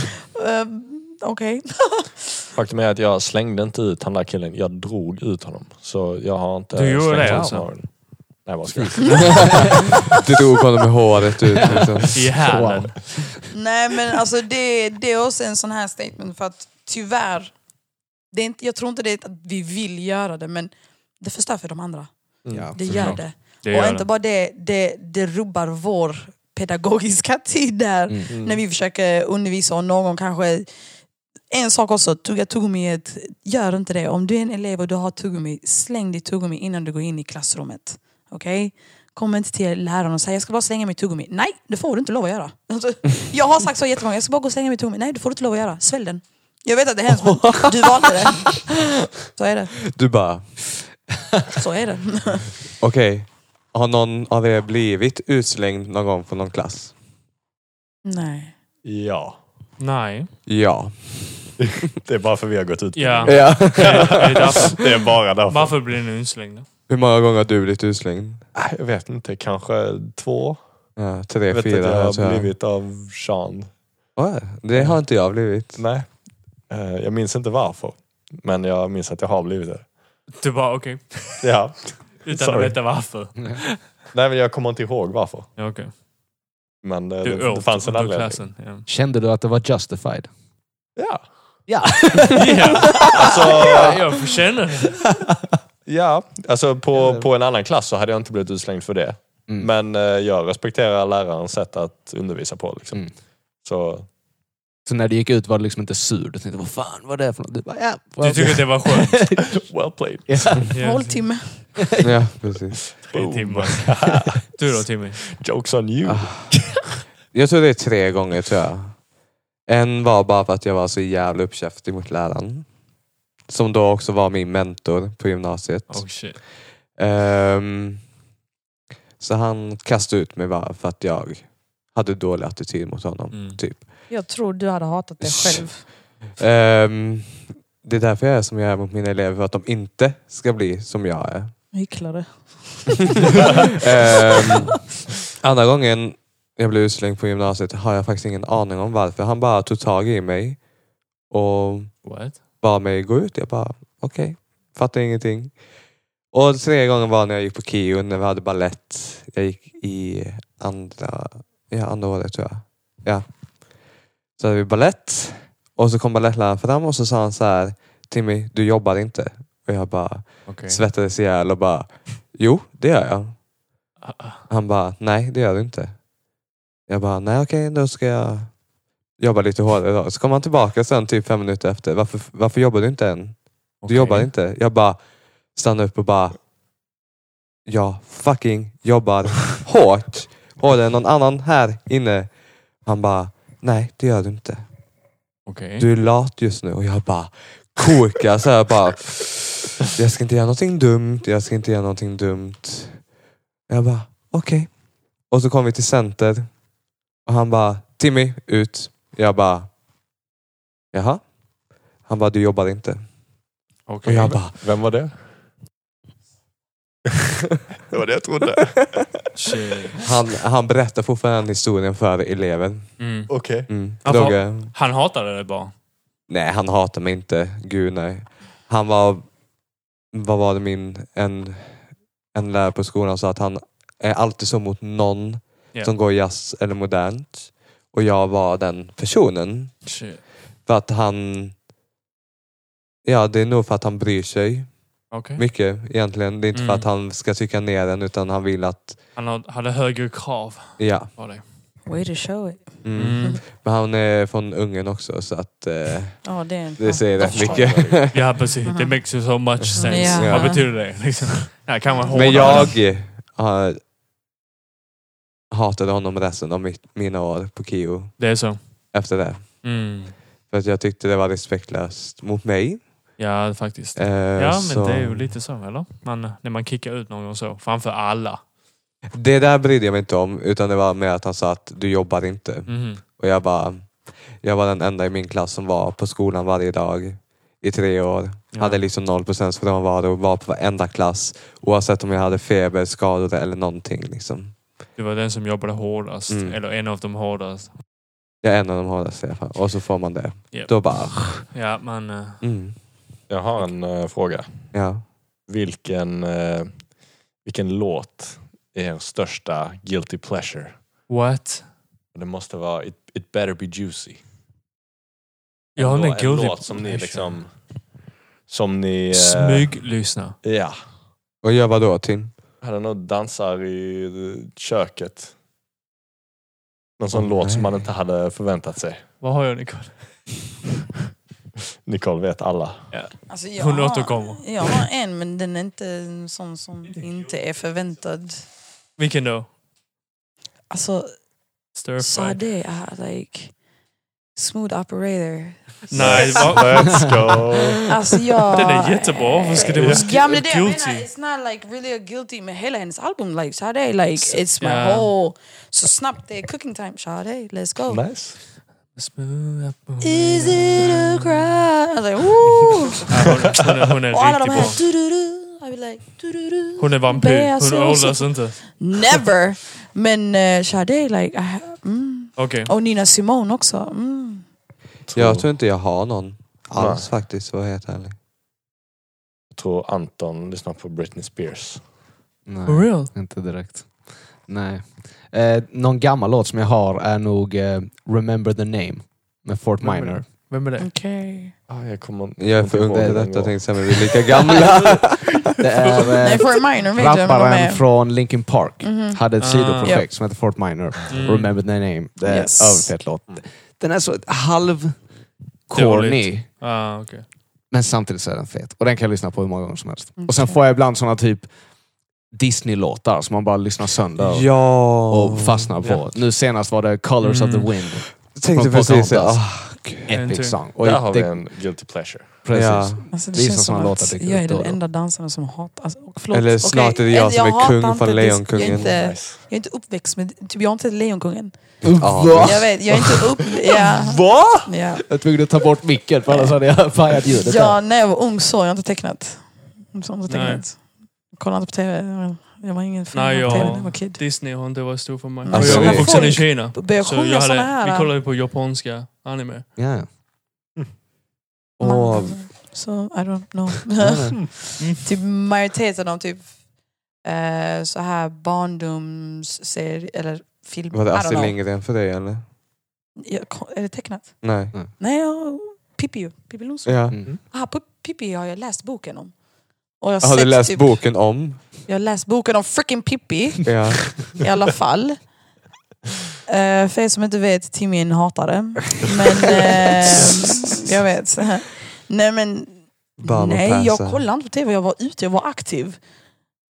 Speaker 4: Ehm, Okej.
Speaker 6: Faktum är att jag slängde inte ut han där killen, jag drog ut honom. Så jag har inte...
Speaker 1: Du gjorde
Speaker 6: slängt
Speaker 1: det,
Speaker 6: ut
Speaker 1: alltså?
Speaker 6: någon. Nej, jag bara skojar.
Speaker 2: Du drog honom med håret ut. Liksom.
Speaker 1: I hälen. Typ.
Speaker 4: Nej men alltså det, det är också en sån här statement för att tyvärr, det är inte, jag tror inte det är att vi vill göra det men det förstör för de andra.
Speaker 3: Ja,
Speaker 4: Det
Speaker 1: såklart.
Speaker 4: gör det.
Speaker 1: Det
Speaker 4: och
Speaker 1: gör
Speaker 4: inte
Speaker 1: den.
Speaker 4: bara det, det, det rubbar vår pedagogiska tid där.
Speaker 3: Mm.
Speaker 4: Mm. När vi försöker undervisa och någon kanske... En sak också, tugga tuggummi, är ett- gör inte det. Om du är en elev och du har tuggummi, släng ditt tuggummi innan du går in i klassrummet. Okej? Kom inte till läraren och säg jag ska bara slänga mitt tuggummi. Nej, det får du inte lov att göra. Alltså, jag har sagt så jättemånga, jag ska bara gå och slänga mitt tuggummi. Nej, det får du inte lov att göra. Svälj den. Jag vet att det är hemskt, men du valde det. Så är det.
Speaker 2: Du bara,
Speaker 4: Så är det.
Speaker 2: okej. Har någon av er blivit utslängd någon gång från någon klass?
Speaker 4: Nej.
Speaker 6: Ja.
Speaker 1: Nej.
Speaker 2: Ja.
Speaker 6: Det är bara för vi har gått ut.
Speaker 1: Ja.
Speaker 2: ja.
Speaker 1: Det är därför.
Speaker 6: Det är bara därför.
Speaker 1: Varför blir ni utslängda?
Speaker 2: Hur många gånger har du blivit utslängd?
Speaker 6: Nej, Jag vet inte, kanske två?
Speaker 2: Ja,
Speaker 6: Jag
Speaker 2: tre,
Speaker 6: vet att
Speaker 2: fyra.
Speaker 6: jag
Speaker 2: alltså.
Speaker 6: har blivit av Sean.
Speaker 2: Ja, det har inte jag blivit.
Speaker 6: Nej. Eh, Jag minns inte varför. Men jag minns att jag har blivit det.
Speaker 1: Du bara okej.
Speaker 6: Ja.
Speaker 1: Utan
Speaker 6: Sorry.
Speaker 1: att veta varför.
Speaker 6: Nej men jag kommer inte ihåg varför.
Speaker 1: Ja, okej.
Speaker 6: Men eh,
Speaker 1: Du
Speaker 6: det, det
Speaker 1: åt
Speaker 6: fanns en
Speaker 1: under
Speaker 6: anledning.
Speaker 1: klassen. Ja.
Speaker 3: Kände du att det var justified?
Speaker 6: Ja.
Speaker 3: Ja.
Speaker 1: ja, jag känner det.
Speaker 6: Ja, alltså på, på en annan klass så hade jag inte blivit utslängd för det.
Speaker 3: Mm.
Speaker 6: Men eh, jag respekterar lärarens sätt att undervisa på. Liksom.
Speaker 3: Mm.
Speaker 6: Så
Speaker 3: Så när du gick ut var du liksom inte sur. Du tänkte, vad fan var det för något? Du bara, ja.
Speaker 1: Du tycker att det var skönt?
Speaker 6: well played.
Speaker 1: Ja,
Speaker 4: Håltimme.
Speaker 2: Ja, precis.
Speaker 1: Tre timmar. Du då Timmy?
Speaker 6: Jokes on
Speaker 2: Ah.
Speaker 6: you.
Speaker 2: Jag tror det är tre gånger tror jag. En var bara för att jag var så jävla uppkäftig mot läraren. Som då också var min mentor på gymnasiet.
Speaker 1: Oh shit.
Speaker 2: Ehm, så han kastade ut mig bara för att jag hade dålig attityd mot honom.
Speaker 1: Mm.
Speaker 2: Typ.
Speaker 4: Jag tror du hade hatat dig själv.
Speaker 2: Ehm, det är därför jag är som jag är mot mina elever, för att de inte ska bli som jag är.
Speaker 4: Hycklare.
Speaker 2: Ehm, andra gången jag blev utslängd på gymnasiet har jag faktiskt ingen aning om varför. Han bara tog tag i mig och
Speaker 1: What?
Speaker 2: bad mig gå ut. Jag bara, okej, fattar ingenting. Och tredje gången var när jag gick på KIO, när vi hade ballett. Jag gick i andra, ja, andra året tror jag. Ja. Så hade vi ballett. Och så kom balettläraren fram och så sa han så här, Timmy, du jobbar inte. Och jag bara
Speaker 1: Okej.
Speaker 2: svettades ihjäl och bara, jo det gör jag.
Speaker 1: Ah, ah.
Speaker 2: Han bara, nej det gör du inte. Jag bara, nej okej då ska jag jobba lite hårdare idag. Så kom han tillbaka sen typ fem minuter efter. Varför, varför jobbar du inte än? Du
Speaker 1: Okej.
Speaker 2: jobbar inte. Jag bara stannade upp och bara, jag fucking jobbar hårt. Hårdare än någon annan här inne. Han bara, nej det gör du inte.
Speaker 1: Okej.
Speaker 2: Du är lat just nu. Och jag bara kokar så här bara. Jag ska inte göra någonting dumt. Jag ska inte göra någonting dumt. Jag bara okej. Och så kom vi till center. Och han bara Timmy ut. Jag bara jaha. Han bara du jobbar inte. Och
Speaker 1: Okej.
Speaker 2: jag bara
Speaker 6: Vem var det? det var det jag trodde.
Speaker 1: Shit.
Speaker 2: han, han berättar fortfarande den historien för eleven.
Speaker 1: Mm.
Speaker 6: Okej.
Speaker 2: Mm.
Speaker 1: Han var-
Speaker 2: Dogge.
Speaker 1: Han hatade det bara.
Speaker 2: Nej, han hatar mig inte. Gud nej. Han var, vad var det min, en, en lärare på skolan sa att han är alltid så mot någon
Speaker 1: Ja.
Speaker 2: som går jazz eller modernt. Och jag var den personen.
Speaker 1: Shit.
Speaker 2: För att han, ja det är nog för att han bryr sig
Speaker 1: Okej.
Speaker 2: mycket egentligen. Det är inte
Speaker 1: Mm.
Speaker 2: för att han ska tycka ner en utan han vill att,
Speaker 1: Han had- hade högre krav
Speaker 2: ja.
Speaker 1: på dig.
Speaker 4: Way to show it.
Speaker 2: Mm.
Speaker 1: Mm.
Speaker 2: Men han är från Ungern också så att eh,
Speaker 4: Ja, det är en
Speaker 2: det säger rätt mycket.
Speaker 1: Ja, precis. Det makes you so much sense.
Speaker 4: Ja.
Speaker 1: Vad betyder det? Liksom. Ja, kan man
Speaker 2: Mm. Men
Speaker 1: hårdare.
Speaker 2: jag har hatade honom resten av mitt, mina år på KIO
Speaker 1: Det är så.
Speaker 2: efter det.
Speaker 1: Mm.
Speaker 2: För att jag tyckte det var respektlöst mot mig.
Speaker 1: Ja, faktiskt.
Speaker 2: Eh,
Speaker 1: Ja, men
Speaker 2: så-
Speaker 1: det är ju lite så, eller? Man, när man kickar ut någon så, framför alla.
Speaker 2: det där brydde jag mig inte om, utan det var mer att han sa att du jobbar inte.
Speaker 1: Mhm.
Speaker 2: Och jag bara, jag var den enda i min klass som var på skolan varje dag i tre år.
Speaker 1: Ja.
Speaker 2: Hade liksom noll procents frånvaro och var på varenda klass. Oavsett om jag hade feber, skador eller någonting. Liksom.
Speaker 1: Du var den som jobbade hårdast,
Speaker 2: Mm.
Speaker 1: eller en av de hårdast.
Speaker 2: Jag är en av de hårdaste i alla fall. Och så får man det.
Speaker 1: Japp.
Speaker 2: Då bara,
Speaker 1: Ja, man... eh,
Speaker 2: mm,
Speaker 6: Jag har en eh, fråga.
Speaker 2: ja.
Speaker 6: Vilken, eh, vilken låt är er största guilty pleasure?
Speaker 1: What?
Speaker 6: Det måste vara It, it better be juicy.
Speaker 1: Jag har
Speaker 6: Ändå
Speaker 1: ingen guilty
Speaker 6: En låt som ni
Speaker 1: pleasure.
Speaker 6: liksom... Som ni... eh,
Speaker 1: Smyglyssna.
Speaker 6: Ja.
Speaker 2: Och gör vad då Tim?
Speaker 6: Hade nog dansar i eh, köket. Någon sån
Speaker 2: Åh,
Speaker 6: låt som
Speaker 2: nej.
Speaker 6: man inte hade förväntat sig.
Speaker 1: Vad har jag Nicole?
Speaker 6: Nicole vet alla.
Speaker 4: Alltså, jag
Speaker 1: Hon
Speaker 4: har-
Speaker 1: återkommer.
Speaker 4: Jag har en, men den är inte en sån som inte är förväntad.
Speaker 1: Vilken då?
Speaker 4: Alltså,
Speaker 1: Stir fried.
Speaker 4: Sade är like smooth operator.
Speaker 1: Nej, det var-
Speaker 6: Let's go!
Speaker 4: Alltså jag...
Speaker 1: Den är jättebra. Varför ska det vara sk-
Speaker 4: Ja men det är det jag
Speaker 1: guilty?
Speaker 4: menar, it's not like really a guilty med hela hennes album like Sade, like it's my
Speaker 1: Ja.
Speaker 4: whole... Så snabbt det är cooking time, Sade, let's go.
Speaker 6: Nice.
Speaker 1: Smooth up-
Speaker 4: Is it a cry? I was like, woo!
Speaker 1: Ja, hon, hon, är- hon är
Speaker 4: Och alla de
Speaker 1: riktigt
Speaker 4: här
Speaker 1: bra.
Speaker 4: du-du-du, I be like du-du-du.
Speaker 1: Hon är
Speaker 4: Bär
Speaker 1: vampyr.
Speaker 4: sig
Speaker 1: Hon
Speaker 4: också.
Speaker 1: åldras inte.
Speaker 4: Never! Men uh, Sade, like... I ha- mm.
Speaker 1: Okej.
Speaker 4: Och Nina Simone också. Mm.
Speaker 2: Jag tror inte jag har någon alls faktiskt, för att vara helt ärlig.
Speaker 6: Jag tror Anton lyssnar på Britney Spears.
Speaker 3: Nej.
Speaker 1: For real?
Speaker 3: Inte direkt. Nej. Eh, någon gammal låt som jag har är nog eh, Remember the name med Fort
Speaker 1: Remember
Speaker 3: Minor.
Speaker 1: Vem är
Speaker 4: Mm.
Speaker 1: det?
Speaker 4: Okej.
Speaker 6: Ah, jag kommer inte
Speaker 2: Jag är för
Speaker 6: ihåg
Speaker 2: ung till
Speaker 6: den
Speaker 2: detta,
Speaker 6: låten.
Speaker 2: tänkte jag, men vi är lika gamla.
Speaker 3: Det är
Speaker 4: Nej,
Speaker 3: eh,
Speaker 4: för en minor vet jag vem de
Speaker 3: rapparen
Speaker 4: är.
Speaker 3: från Linkin Park.
Speaker 4: Mhm.
Speaker 3: Hade ett
Speaker 1: Ah.
Speaker 3: sidoprojekt som hette Fort Minor.
Speaker 1: Mm.
Speaker 3: Remember the name. Det är
Speaker 4: Yes.
Speaker 3: en överfett låt. Den är så halv
Speaker 1: Dåligt.
Speaker 3: corny.
Speaker 1: Ah, okej.
Speaker 3: Men samtidigt så är den fet. Och den kan jag lyssna på hur många gånger som helst. Och sen får jag ibland såna typ Disney-låtar som man bara lyssnar sönder
Speaker 2: ja.
Speaker 3: och fastnar på. Nu senast var det Colors of
Speaker 1: Mm.
Speaker 3: the Wind.
Speaker 2: Tänkte
Speaker 3: från
Speaker 2: precis säga,
Speaker 3: Pocahontas.
Speaker 2: ah,
Speaker 1: En till.
Speaker 3: Epic song. Och
Speaker 6: Där har vi
Speaker 3: det,
Speaker 6: en guilty pleasure.
Speaker 3: precis.
Speaker 2: Ja.
Speaker 4: Alltså, det
Speaker 3: Visa
Speaker 4: känns som
Speaker 3: såna låtar
Speaker 4: att
Speaker 3: dyker
Speaker 4: jag är
Speaker 3: upp då
Speaker 4: den
Speaker 3: och då.
Speaker 4: enda dansaren som hatar... Alltså, och förlåt,
Speaker 2: Eller snart
Speaker 4: okej,
Speaker 2: är det jag som är
Speaker 4: hatar
Speaker 2: kung
Speaker 4: inte
Speaker 2: för
Speaker 4: dis-
Speaker 2: Lejonkungen.
Speaker 4: Jag är, inte,
Speaker 6: Nice.
Speaker 4: jag är inte uppväxt med... Typ, jag har inte sett Lejonkungen.
Speaker 2: Ja.
Speaker 4: Jag vet, jag är inte upp... Ja,
Speaker 3: Va?
Speaker 4: ja.
Speaker 3: Jag var tvungen att ta bort micken för annars hade jag pajat ljudet.
Speaker 4: ja, när jag var ung så jag har inte tecknat. Så jag har inte
Speaker 1: Nej.
Speaker 4: tecknat. Jag kollade inte på tv. Jag var ingen fan
Speaker 1: Nej,
Speaker 4: av tv när jag var
Speaker 1: jag,
Speaker 4: kid.
Speaker 1: Disney har inte varit stor för mig.
Speaker 4: Alltså,
Speaker 1: jag
Speaker 2: vi-
Speaker 1: är vuxen i
Speaker 4: folk
Speaker 1: Kina.
Speaker 4: börjar
Speaker 1: Så
Speaker 4: sjunga
Speaker 1: jag
Speaker 4: såna
Speaker 1: hade,
Speaker 4: här.
Speaker 1: vi kollade ju på japanska anime.
Speaker 3: Ja.
Speaker 2: Åh,
Speaker 4: Så I don't know.
Speaker 3: Mm.
Speaker 2: nej.
Speaker 4: typ majoriteten av typ eh, så här barndomsserier eller filmer.
Speaker 2: Var
Speaker 4: I
Speaker 2: det
Speaker 4: don't
Speaker 2: Astrid
Speaker 4: know.
Speaker 2: Lindgren för dig eller?
Speaker 4: Ja, ko- Är det tecknat?
Speaker 2: Nej.
Speaker 4: Nej, jag... Pippi ju. Pippi Långstrump.
Speaker 2: Ja.
Speaker 3: Mm.
Speaker 4: Ah, P- Pippi har jag läst boken om. Och jag
Speaker 2: Har du
Speaker 4: sett
Speaker 2: läst
Speaker 4: typ,
Speaker 2: boken om?
Speaker 4: Jag har läst boken om freaking Pippi
Speaker 2: Ja.
Speaker 4: i alla fall. Eh, för er som inte vet, Timmy är en hatare. Men eh, jag vet. Nej men,
Speaker 2: Barn och
Speaker 4: nej jag
Speaker 2: Persa.
Speaker 4: kollade inte på tv. Jag var ute, jag var aktiv.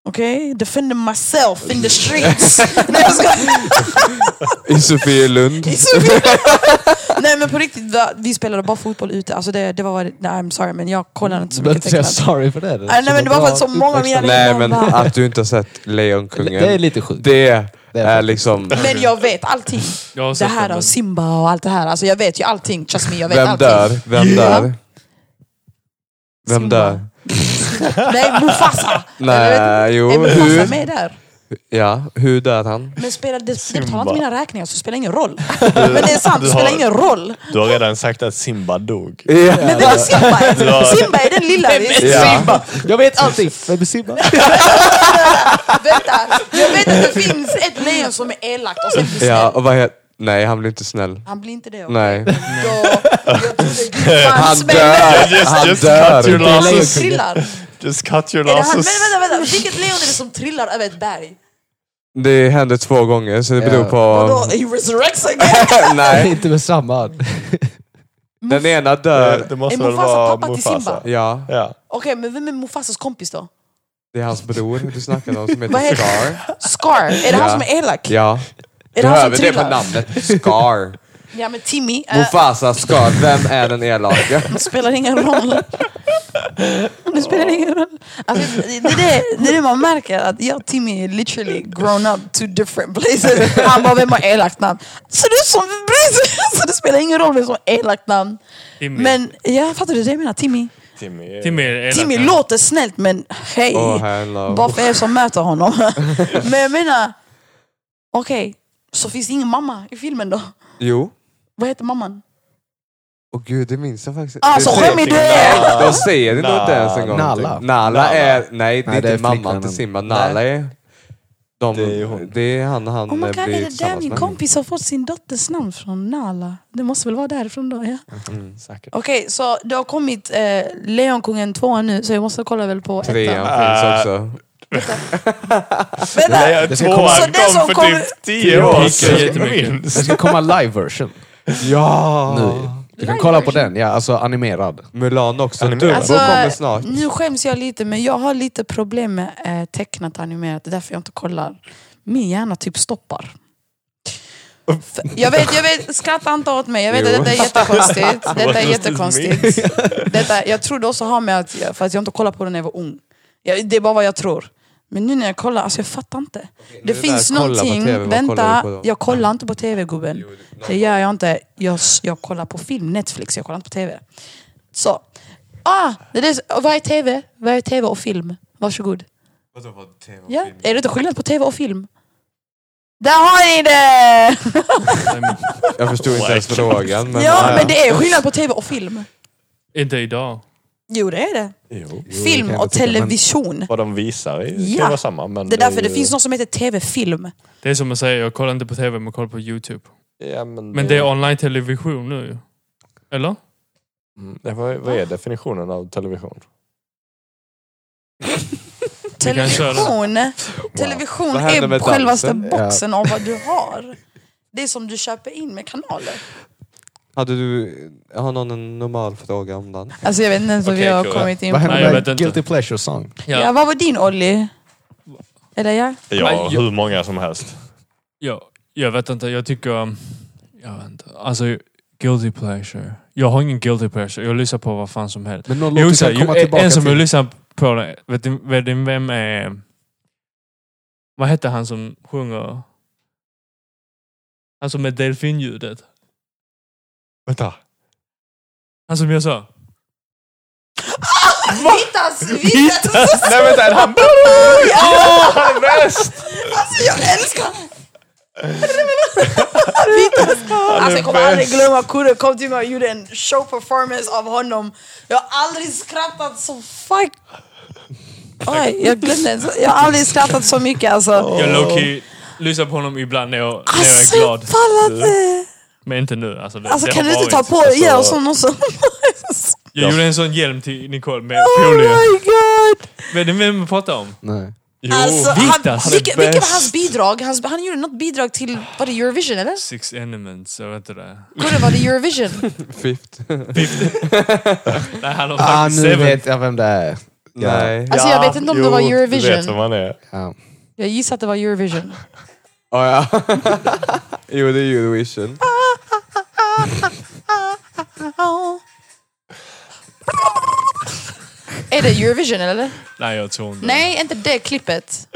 Speaker 4: Okej? Defended myself in the streets. nej jag skojar.
Speaker 2: I Sofielund.
Speaker 4: Det är så mycket. Nej men på riktigt, va- vi spelade bara fotboll ute. Alltså det, det var vad det- nej, I'm sorry men jag kollade inte så mycket
Speaker 3: jag
Speaker 4: tecknat.
Speaker 3: sorry för det.
Speaker 4: Nej, nej men det var för att så många av mina
Speaker 2: Nej
Speaker 4: vänner
Speaker 2: men
Speaker 4: bara-
Speaker 2: att du inte har sett
Speaker 3: Det är
Speaker 2: Lejonkungen.
Speaker 3: lite sjukt.
Speaker 2: Det
Speaker 3: Det
Speaker 2: är
Speaker 3: är
Speaker 2: liksom...
Speaker 4: Men jag vet allting.
Speaker 1: Jag har
Speaker 4: Det
Speaker 1: sett
Speaker 4: här
Speaker 1: den,
Speaker 4: om
Speaker 1: men-
Speaker 4: Simba och allt det här. Alltså jag vet ju allting. Trust me, jag vet
Speaker 2: Vem
Speaker 4: allting.
Speaker 2: dör? Vem
Speaker 4: Ja.
Speaker 2: dör? Vem
Speaker 4: Simba.
Speaker 2: dör?
Speaker 4: Nej, Mufasa!
Speaker 2: Nej, jo.
Speaker 4: Är Mufasa
Speaker 2: Hur?
Speaker 4: med där?
Speaker 2: Ja, hur dör han?
Speaker 4: Men spelar, det, det betalar
Speaker 6: Simba.
Speaker 4: inte mina räkningar så det spelar ingen roll. Men det är sant, det
Speaker 6: du
Speaker 4: spelar
Speaker 6: har-
Speaker 4: ingen roll.
Speaker 6: Du har redan sagt att Simba dog.
Speaker 4: Men det var Simba.
Speaker 6: Ja.
Speaker 4: Simba är den lilla. vi-
Speaker 2: Ja.
Speaker 3: Jag vet allting! Vem är Simba?
Speaker 4: Vänta, jag vet att det finns ett lejon som är elakt och sen blir
Speaker 2: Ja,
Speaker 4: snäll.
Speaker 2: och vad heter... Nej, han blir inte snäll.
Speaker 4: Han blir inte det.
Speaker 2: Nej.
Speaker 4: Då, jag trodde gud,
Speaker 2: Han
Speaker 4: fan,
Speaker 2: dör!
Speaker 6: Just-
Speaker 2: Han
Speaker 6: just cut your
Speaker 2: dör!
Speaker 4: Han
Speaker 6: losses.
Speaker 4: trillar.
Speaker 6: Just cut your
Speaker 4: Är det han, men
Speaker 6: losses.
Speaker 4: vänta, vänta, vilket lejon är det som trillar över ett berg?
Speaker 2: Det hände två gånger, så det beror
Speaker 3: Ja.
Speaker 4: Och
Speaker 2: på...
Speaker 4: då, he resurrects again!
Speaker 3: Nej.
Speaker 2: Nej,
Speaker 3: Inte med samma.
Speaker 2: den ena
Speaker 6: Det,
Speaker 2: dör.
Speaker 6: Eh, det
Speaker 4: Är
Speaker 6: måste väl
Speaker 4: Mufasa
Speaker 6: vara
Speaker 4: pappa till
Speaker 6: Mufasa.
Speaker 4: Simba?
Speaker 2: Ja,
Speaker 6: Ja.
Speaker 4: Okej, men vem är Mufasas kompis då?
Speaker 2: det är hans bror du snackade om som
Speaker 4: Vad
Speaker 2: heter
Speaker 4: heter-
Speaker 2: Scar.
Speaker 4: Scar, är det
Speaker 2: Ja.
Speaker 4: han som är elak?
Speaker 2: Ja,
Speaker 4: Är
Speaker 2: du
Speaker 4: det han
Speaker 2: hör
Speaker 4: som
Speaker 2: väl det på
Speaker 4: trillar?
Speaker 2: namnet? Scar.
Speaker 4: Ja men Timmy, äh,
Speaker 2: Mufasa, Scar. Vem är den elaka?
Speaker 4: det spelar ingen roll. Det spelar ingen roll. Alltså, det, är det, det är det man märker, att jag och Timmy är literally grown up to different places. Han bara, vem har elakt namn? Så det, är som, så det spelar ingen roll vem som har elakt namn.
Speaker 1: Timmy.
Speaker 4: Men ja, fattar du det jag menar? Timmy,
Speaker 6: Timmy. är-
Speaker 1: Timmy, är elak.
Speaker 4: Timmy låter snällt men hej.
Speaker 2: Åh, hello.
Speaker 4: Bara för er som möter honom. Men jag menar, okej, så finns det ingen mamma i filmen då?
Speaker 2: Jo.
Speaker 4: Vad heter mamman?
Speaker 2: Åh gud, det minns jag faktiskt.
Speaker 4: Alltså,
Speaker 2: Du ser-
Speaker 4: skäm i det!
Speaker 2: De säger det nog
Speaker 6: Nala.
Speaker 2: inte ens en gång.
Speaker 3: Nala.
Speaker 2: Nala är... Nej, det är
Speaker 3: Nej, det
Speaker 2: inte
Speaker 3: är
Speaker 2: mamman
Speaker 3: flickvännen.
Speaker 2: till Simba. Nala är... De,
Speaker 6: Det är ju hon.
Speaker 2: det är han han
Speaker 4: Oh my
Speaker 2: eh,
Speaker 4: god, är
Speaker 2: blir
Speaker 4: det där
Speaker 2: tillsammans
Speaker 4: min
Speaker 2: med.
Speaker 4: kompis har fått sin dotters namn från? Nala. Det måste väl vara därifrån då, ja.
Speaker 2: Mm.
Speaker 6: Säkert.
Speaker 4: Okej, så det har kommit eh, Lejonkungen 2 nu, så jag måste kolla väl på
Speaker 2: Trean
Speaker 4: ettan.
Speaker 2: finns
Speaker 6: Ah.
Speaker 2: också.
Speaker 4: Vänta!
Speaker 6: Nej,
Speaker 3: Det ska
Speaker 6: tvåan
Speaker 3: komma-
Speaker 4: Så det som
Speaker 6: kom för
Speaker 4: kommer-
Speaker 6: typ tio år
Speaker 1: Gick ju
Speaker 6: sedan.
Speaker 1: jättemycket.
Speaker 6: minst.
Speaker 3: Det ska komma live-version
Speaker 2: Ja!
Speaker 3: nu. Du kan kolla på den, ja. Alltså animerad.
Speaker 2: Mulan också.
Speaker 6: Animerad.
Speaker 2: Dumbo
Speaker 4: Alltså,
Speaker 2: kommer snart.
Speaker 4: nu skäms jag lite, men jag har lite problem med eh, tecknat animerat. Det är därför jag inte kollar. Min hjärna typ stoppar. För- Jag vet, jag vet, skratta inte åt mig. Jag vet
Speaker 2: Jo.
Speaker 4: att detta är jättekonstigt. Detta är
Speaker 6: does this
Speaker 4: jättekonstigt. Detta, jag tror det också har med att, jag- för att jag inte kollade på den när jag var ung. Jag, det är bara vad jag tror. Men nu när jag kollar, alltså jag fattar inte. Det,
Speaker 2: där,
Speaker 4: finns
Speaker 2: kolla på
Speaker 4: någonting,
Speaker 2: TV, vad kollar du
Speaker 4: vänta,
Speaker 2: på då?
Speaker 4: jag kollar inte på TV gubben. Det gör jag inte. Jag, s- jag kollar på film, Netflix, jag kollar inte på TV. Så. Ah, det är, det s- vad är TV? Vad är TV och film? Varsågod. Ja, är det inte skillnad på TV och film? Där har ni det!
Speaker 2: Jag förstod inte ens frågan. Men, eh,
Speaker 4: ja, men det är skillnad på TV och film.
Speaker 1: Inte idag.
Speaker 4: Jo, det är det.
Speaker 6: Jo.
Speaker 4: film
Speaker 3: kan jag
Speaker 4: och
Speaker 3: tycka, men-
Speaker 4: television.
Speaker 6: Vad de visar är-
Speaker 4: Ja.
Speaker 6: kan vara samma. Men
Speaker 4: Det är därför det
Speaker 2: Eh.
Speaker 6: ju-
Speaker 4: finns något som heter TV-film.
Speaker 1: Det är som man säger, jag kollar inte på TV men kollar på YouTube.
Speaker 6: Ja, men,
Speaker 1: Men
Speaker 4: Mm.
Speaker 1: det är online-television nu ju. Eller?
Speaker 6: Mm, ja, vad, vad är definitionen av television?
Speaker 1: Vi kan köra.
Speaker 4: Television, television
Speaker 2: Vad händer
Speaker 4: är
Speaker 2: med
Speaker 4: självaste
Speaker 2: dansen?
Speaker 4: boxen av vad du har. Det är som du köper in med kanaler.
Speaker 2: Hade du... Har någon en normal fråga om den?
Speaker 4: Alltså jag vet inte ens vad vi
Speaker 6: Okej,
Speaker 4: har
Speaker 6: cool.
Speaker 4: kommit in
Speaker 3: Vad
Speaker 4: på.
Speaker 1: jag
Speaker 3: händer
Speaker 1: vet
Speaker 3: med
Speaker 1: inte.
Speaker 3: Guilty Pleasure Song?
Speaker 1: Ja.
Speaker 4: Ja, vad var din Olli? Eller ja?
Speaker 6: Ja,
Speaker 1: Men jag-
Speaker 6: hur många som helst.
Speaker 1: Jag, jag vet inte, jag tycker... um, Jag vet inte. Alltså, guilty pleasure. Jag har ingen guilty pleasure. Jag lyssnar på vad fan som helst.
Speaker 3: Men någon
Speaker 1: Jo,
Speaker 3: låt
Speaker 1: så,
Speaker 3: du kan
Speaker 1: jo,
Speaker 3: komma
Speaker 1: en-
Speaker 3: tillbaka
Speaker 1: en som jag
Speaker 3: till.
Speaker 1: lyssnar på det. Vet ni, vet ni vem är... Vad heter han som sjunger? Han som är delfinljudet.
Speaker 6: Vänta.
Speaker 1: Han som jag sa.
Speaker 4: Vitas! Vitas!
Speaker 6: Nej vänta, är han
Speaker 4: Ja!
Speaker 6: han är bäst!
Speaker 4: Alltså jag älskar Vitas! Alltså, jag kommer aldrig glömma Kurre kom till mig och gjorde en show performance av honom. Jag har aldrig skrattat så fuck... Oj, jag glömde en så- Jag har aldrig skrattat så mycket alltså.
Speaker 1: Jag lowkey lyssnar på honom ibland när jag, när jag
Speaker 4: Alltså
Speaker 1: är
Speaker 4: jag
Speaker 1: glad.
Speaker 4: pallar inte!
Speaker 1: Men inte nu. Alltså, det,
Speaker 4: Alltså
Speaker 1: det
Speaker 4: kan
Speaker 1: har
Speaker 4: du inte ta
Speaker 1: varit.
Speaker 4: på dig ge oss Oh någon sån?
Speaker 1: Jag gjorde en sån hjälm till Nicole med
Speaker 4: Oh
Speaker 1: polio.
Speaker 4: my god!
Speaker 1: Vet ni vem vi pratar om?
Speaker 3: Nej.
Speaker 1: Jo,
Speaker 4: Alltså, han,
Speaker 1: Vitas!
Speaker 4: vilket, vilket var hans
Speaker 5: bäst.
Speaker 4: bidrag? Hans, han gjorde något bidrag till, var det Eurovision eller?
Speaker 1: Six Elements, jag vet inte det.
Speaker 4: Kurre, var det Eurovision?
Speaker 2: Fifth.
Speaker 1: Nej, han har
Speaker 3: Ah,
Speaker 1: faktiskt
Speaker 3: nu
Speaker 1: seven.
Speaker 3: vet jag vem det är. Ja.
Speaker 2: Nej.
Speaker 4: Alltså jag vet inte om det var
Speaker 6: Du vet vem
Speaker 4: Eurovision.
Speaker 6: man är.
Speaker 3: Ja.
Speaker 4: Jag gissar att det var Eurovision.
Speaker 2: Oh, ja. jo, det är Eurovision.
Speaker 4: Ah. Är det Eurovision eller?
Speaker 1: Nej, jag tror inte
Speaker 4: Nej, inte det klippet.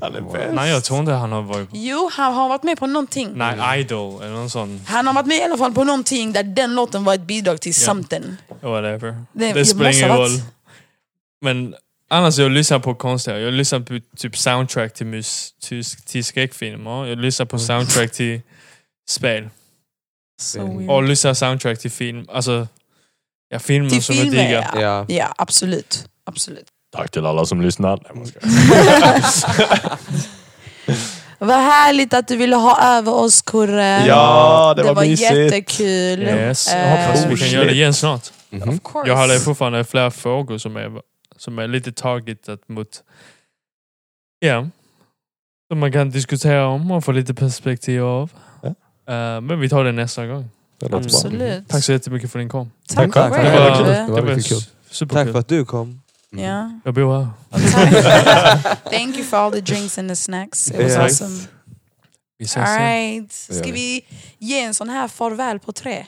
Speaker 6: Han är bäst.
Speaker 1: Nej, jag tror inte han har varit på...
Speaker 4: Jo, han har varit med på någonting.
Speaker 1: Nej, Idol eller någon sån.
Speaker 4: Han har varit med i alla fall på någonting där den låten var ett bidrag till something.
Speaker 1: Whatever.
Speaker 4: Det-
Speaker 1: Det,
Speaker 4: det
Speaker 1: spelar
Speaker 4: måste
Speaker 1: ingen
Speaker 4: ha
Speaker 1: roll.
Speaker 4: varit.
Speaker 1: Men annars, jag lyssnar på konstiga. Jag lyssnar på typ soundtrack till, mus, till, till skräckfilmer. Jag lyssnar på soundtrack till spel.
Speaker 4: So
Speaker 1: Och
Speaker 4: weird.
Speaker 1: lyssnar soundtrack till film. Alltså, ja, filmer
Speaker 4: Till
Speaker 1: som jag
Speaker 4: filmer,
Speaker 1: diggar.
Speaker 4: ja.
Speaker 2: Ja.
Speaker 4: Ja, absolut. Absolut.
Speaker 6: Tack till alla som lyssnar. Nej, man ska-
Speaker 4: Vad härligt att du ville ha över oss, Kurre.
Speaker 6: Ja, det,
Speaker 4: det var,
Speaker 6: mysigt.
Speaker 4: jättekul.
Speaker 1: Yes. Jag
Speaker 4: Eh,
Speaker 1: hoppas vi kan
Speaker 6: Bullshit.
Speaker 1: göra det igen snart.
Speaker 2: Mhm.
Speaker 4: of course.
Speaker 1: Jag hade fortfarande flera frågor som är, som är lite targetat mot... Ja. Som man kan diskutera om och få lite perspektiv av.
Speaker 6: Ja.
Speaker 1: Eh, men vi tar det nästa gång.
Speaker 6: Det låter bra.
Speaker 4: Absolut.
Speaker 1: Tack så jättemycket för din kom.
Speaker 4: Tack,
Speaker 2: Tack
Speaker 4: själv.
Speaker 2: själv.
Speaker 1: var-
Speaker 2: Det var
Speaker 1: det var
Speaker 3: riktigt kul.
Speaker 1: s- superkul.
Speaker 2: Tack för att du kom.
Speaker 4: Ja.
Speaker 1: Jag bor här.
Speaker 4: Tack. Thank you for all the drinks and the snacks. It was
Speaker 2: Yes.
Speaker 4: awesome.
Speaker 1: Vi ses
Speaker 4: All
Speaker 1: sen.
Speaker 4: right.
Speaker 3: Det gör
Speaker 4: Ska vi ge en sån här farväl på tre?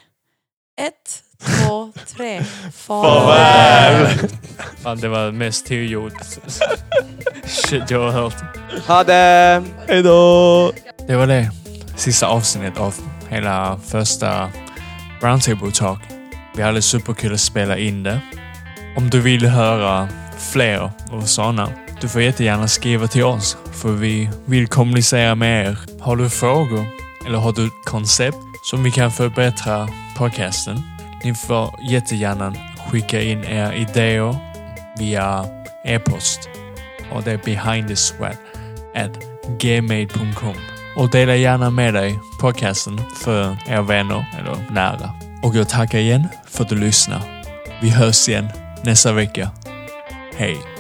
Speaker 4: Ett, två, tre.
Speaker 6: Farväl.
Speaker 1: Fan, det var mest tillgjort shit jag har hört.
Speaker 2: Ha det!
Speaker 6: Hejdå!
Speaker 1: Det var det. Sista avsnittet av hela första Roundtable Talk. Vi hade superkul att spela in det. Om du vill höra fler av sådana, du får jättegärna skriva till oss, för vi vill kommunicera med er. Har du frågor eller har du ett koncept som vi kan förbättra podcasten? Ni får jättegärna skicka in era idéer via e-post. Och det är behindthesweat gmail.com och dela gärna med dig podcasten för era vänner eller nära. Och jag tackar igen för att du lyssnar. Vi hörs igen nästa vecka. Hej!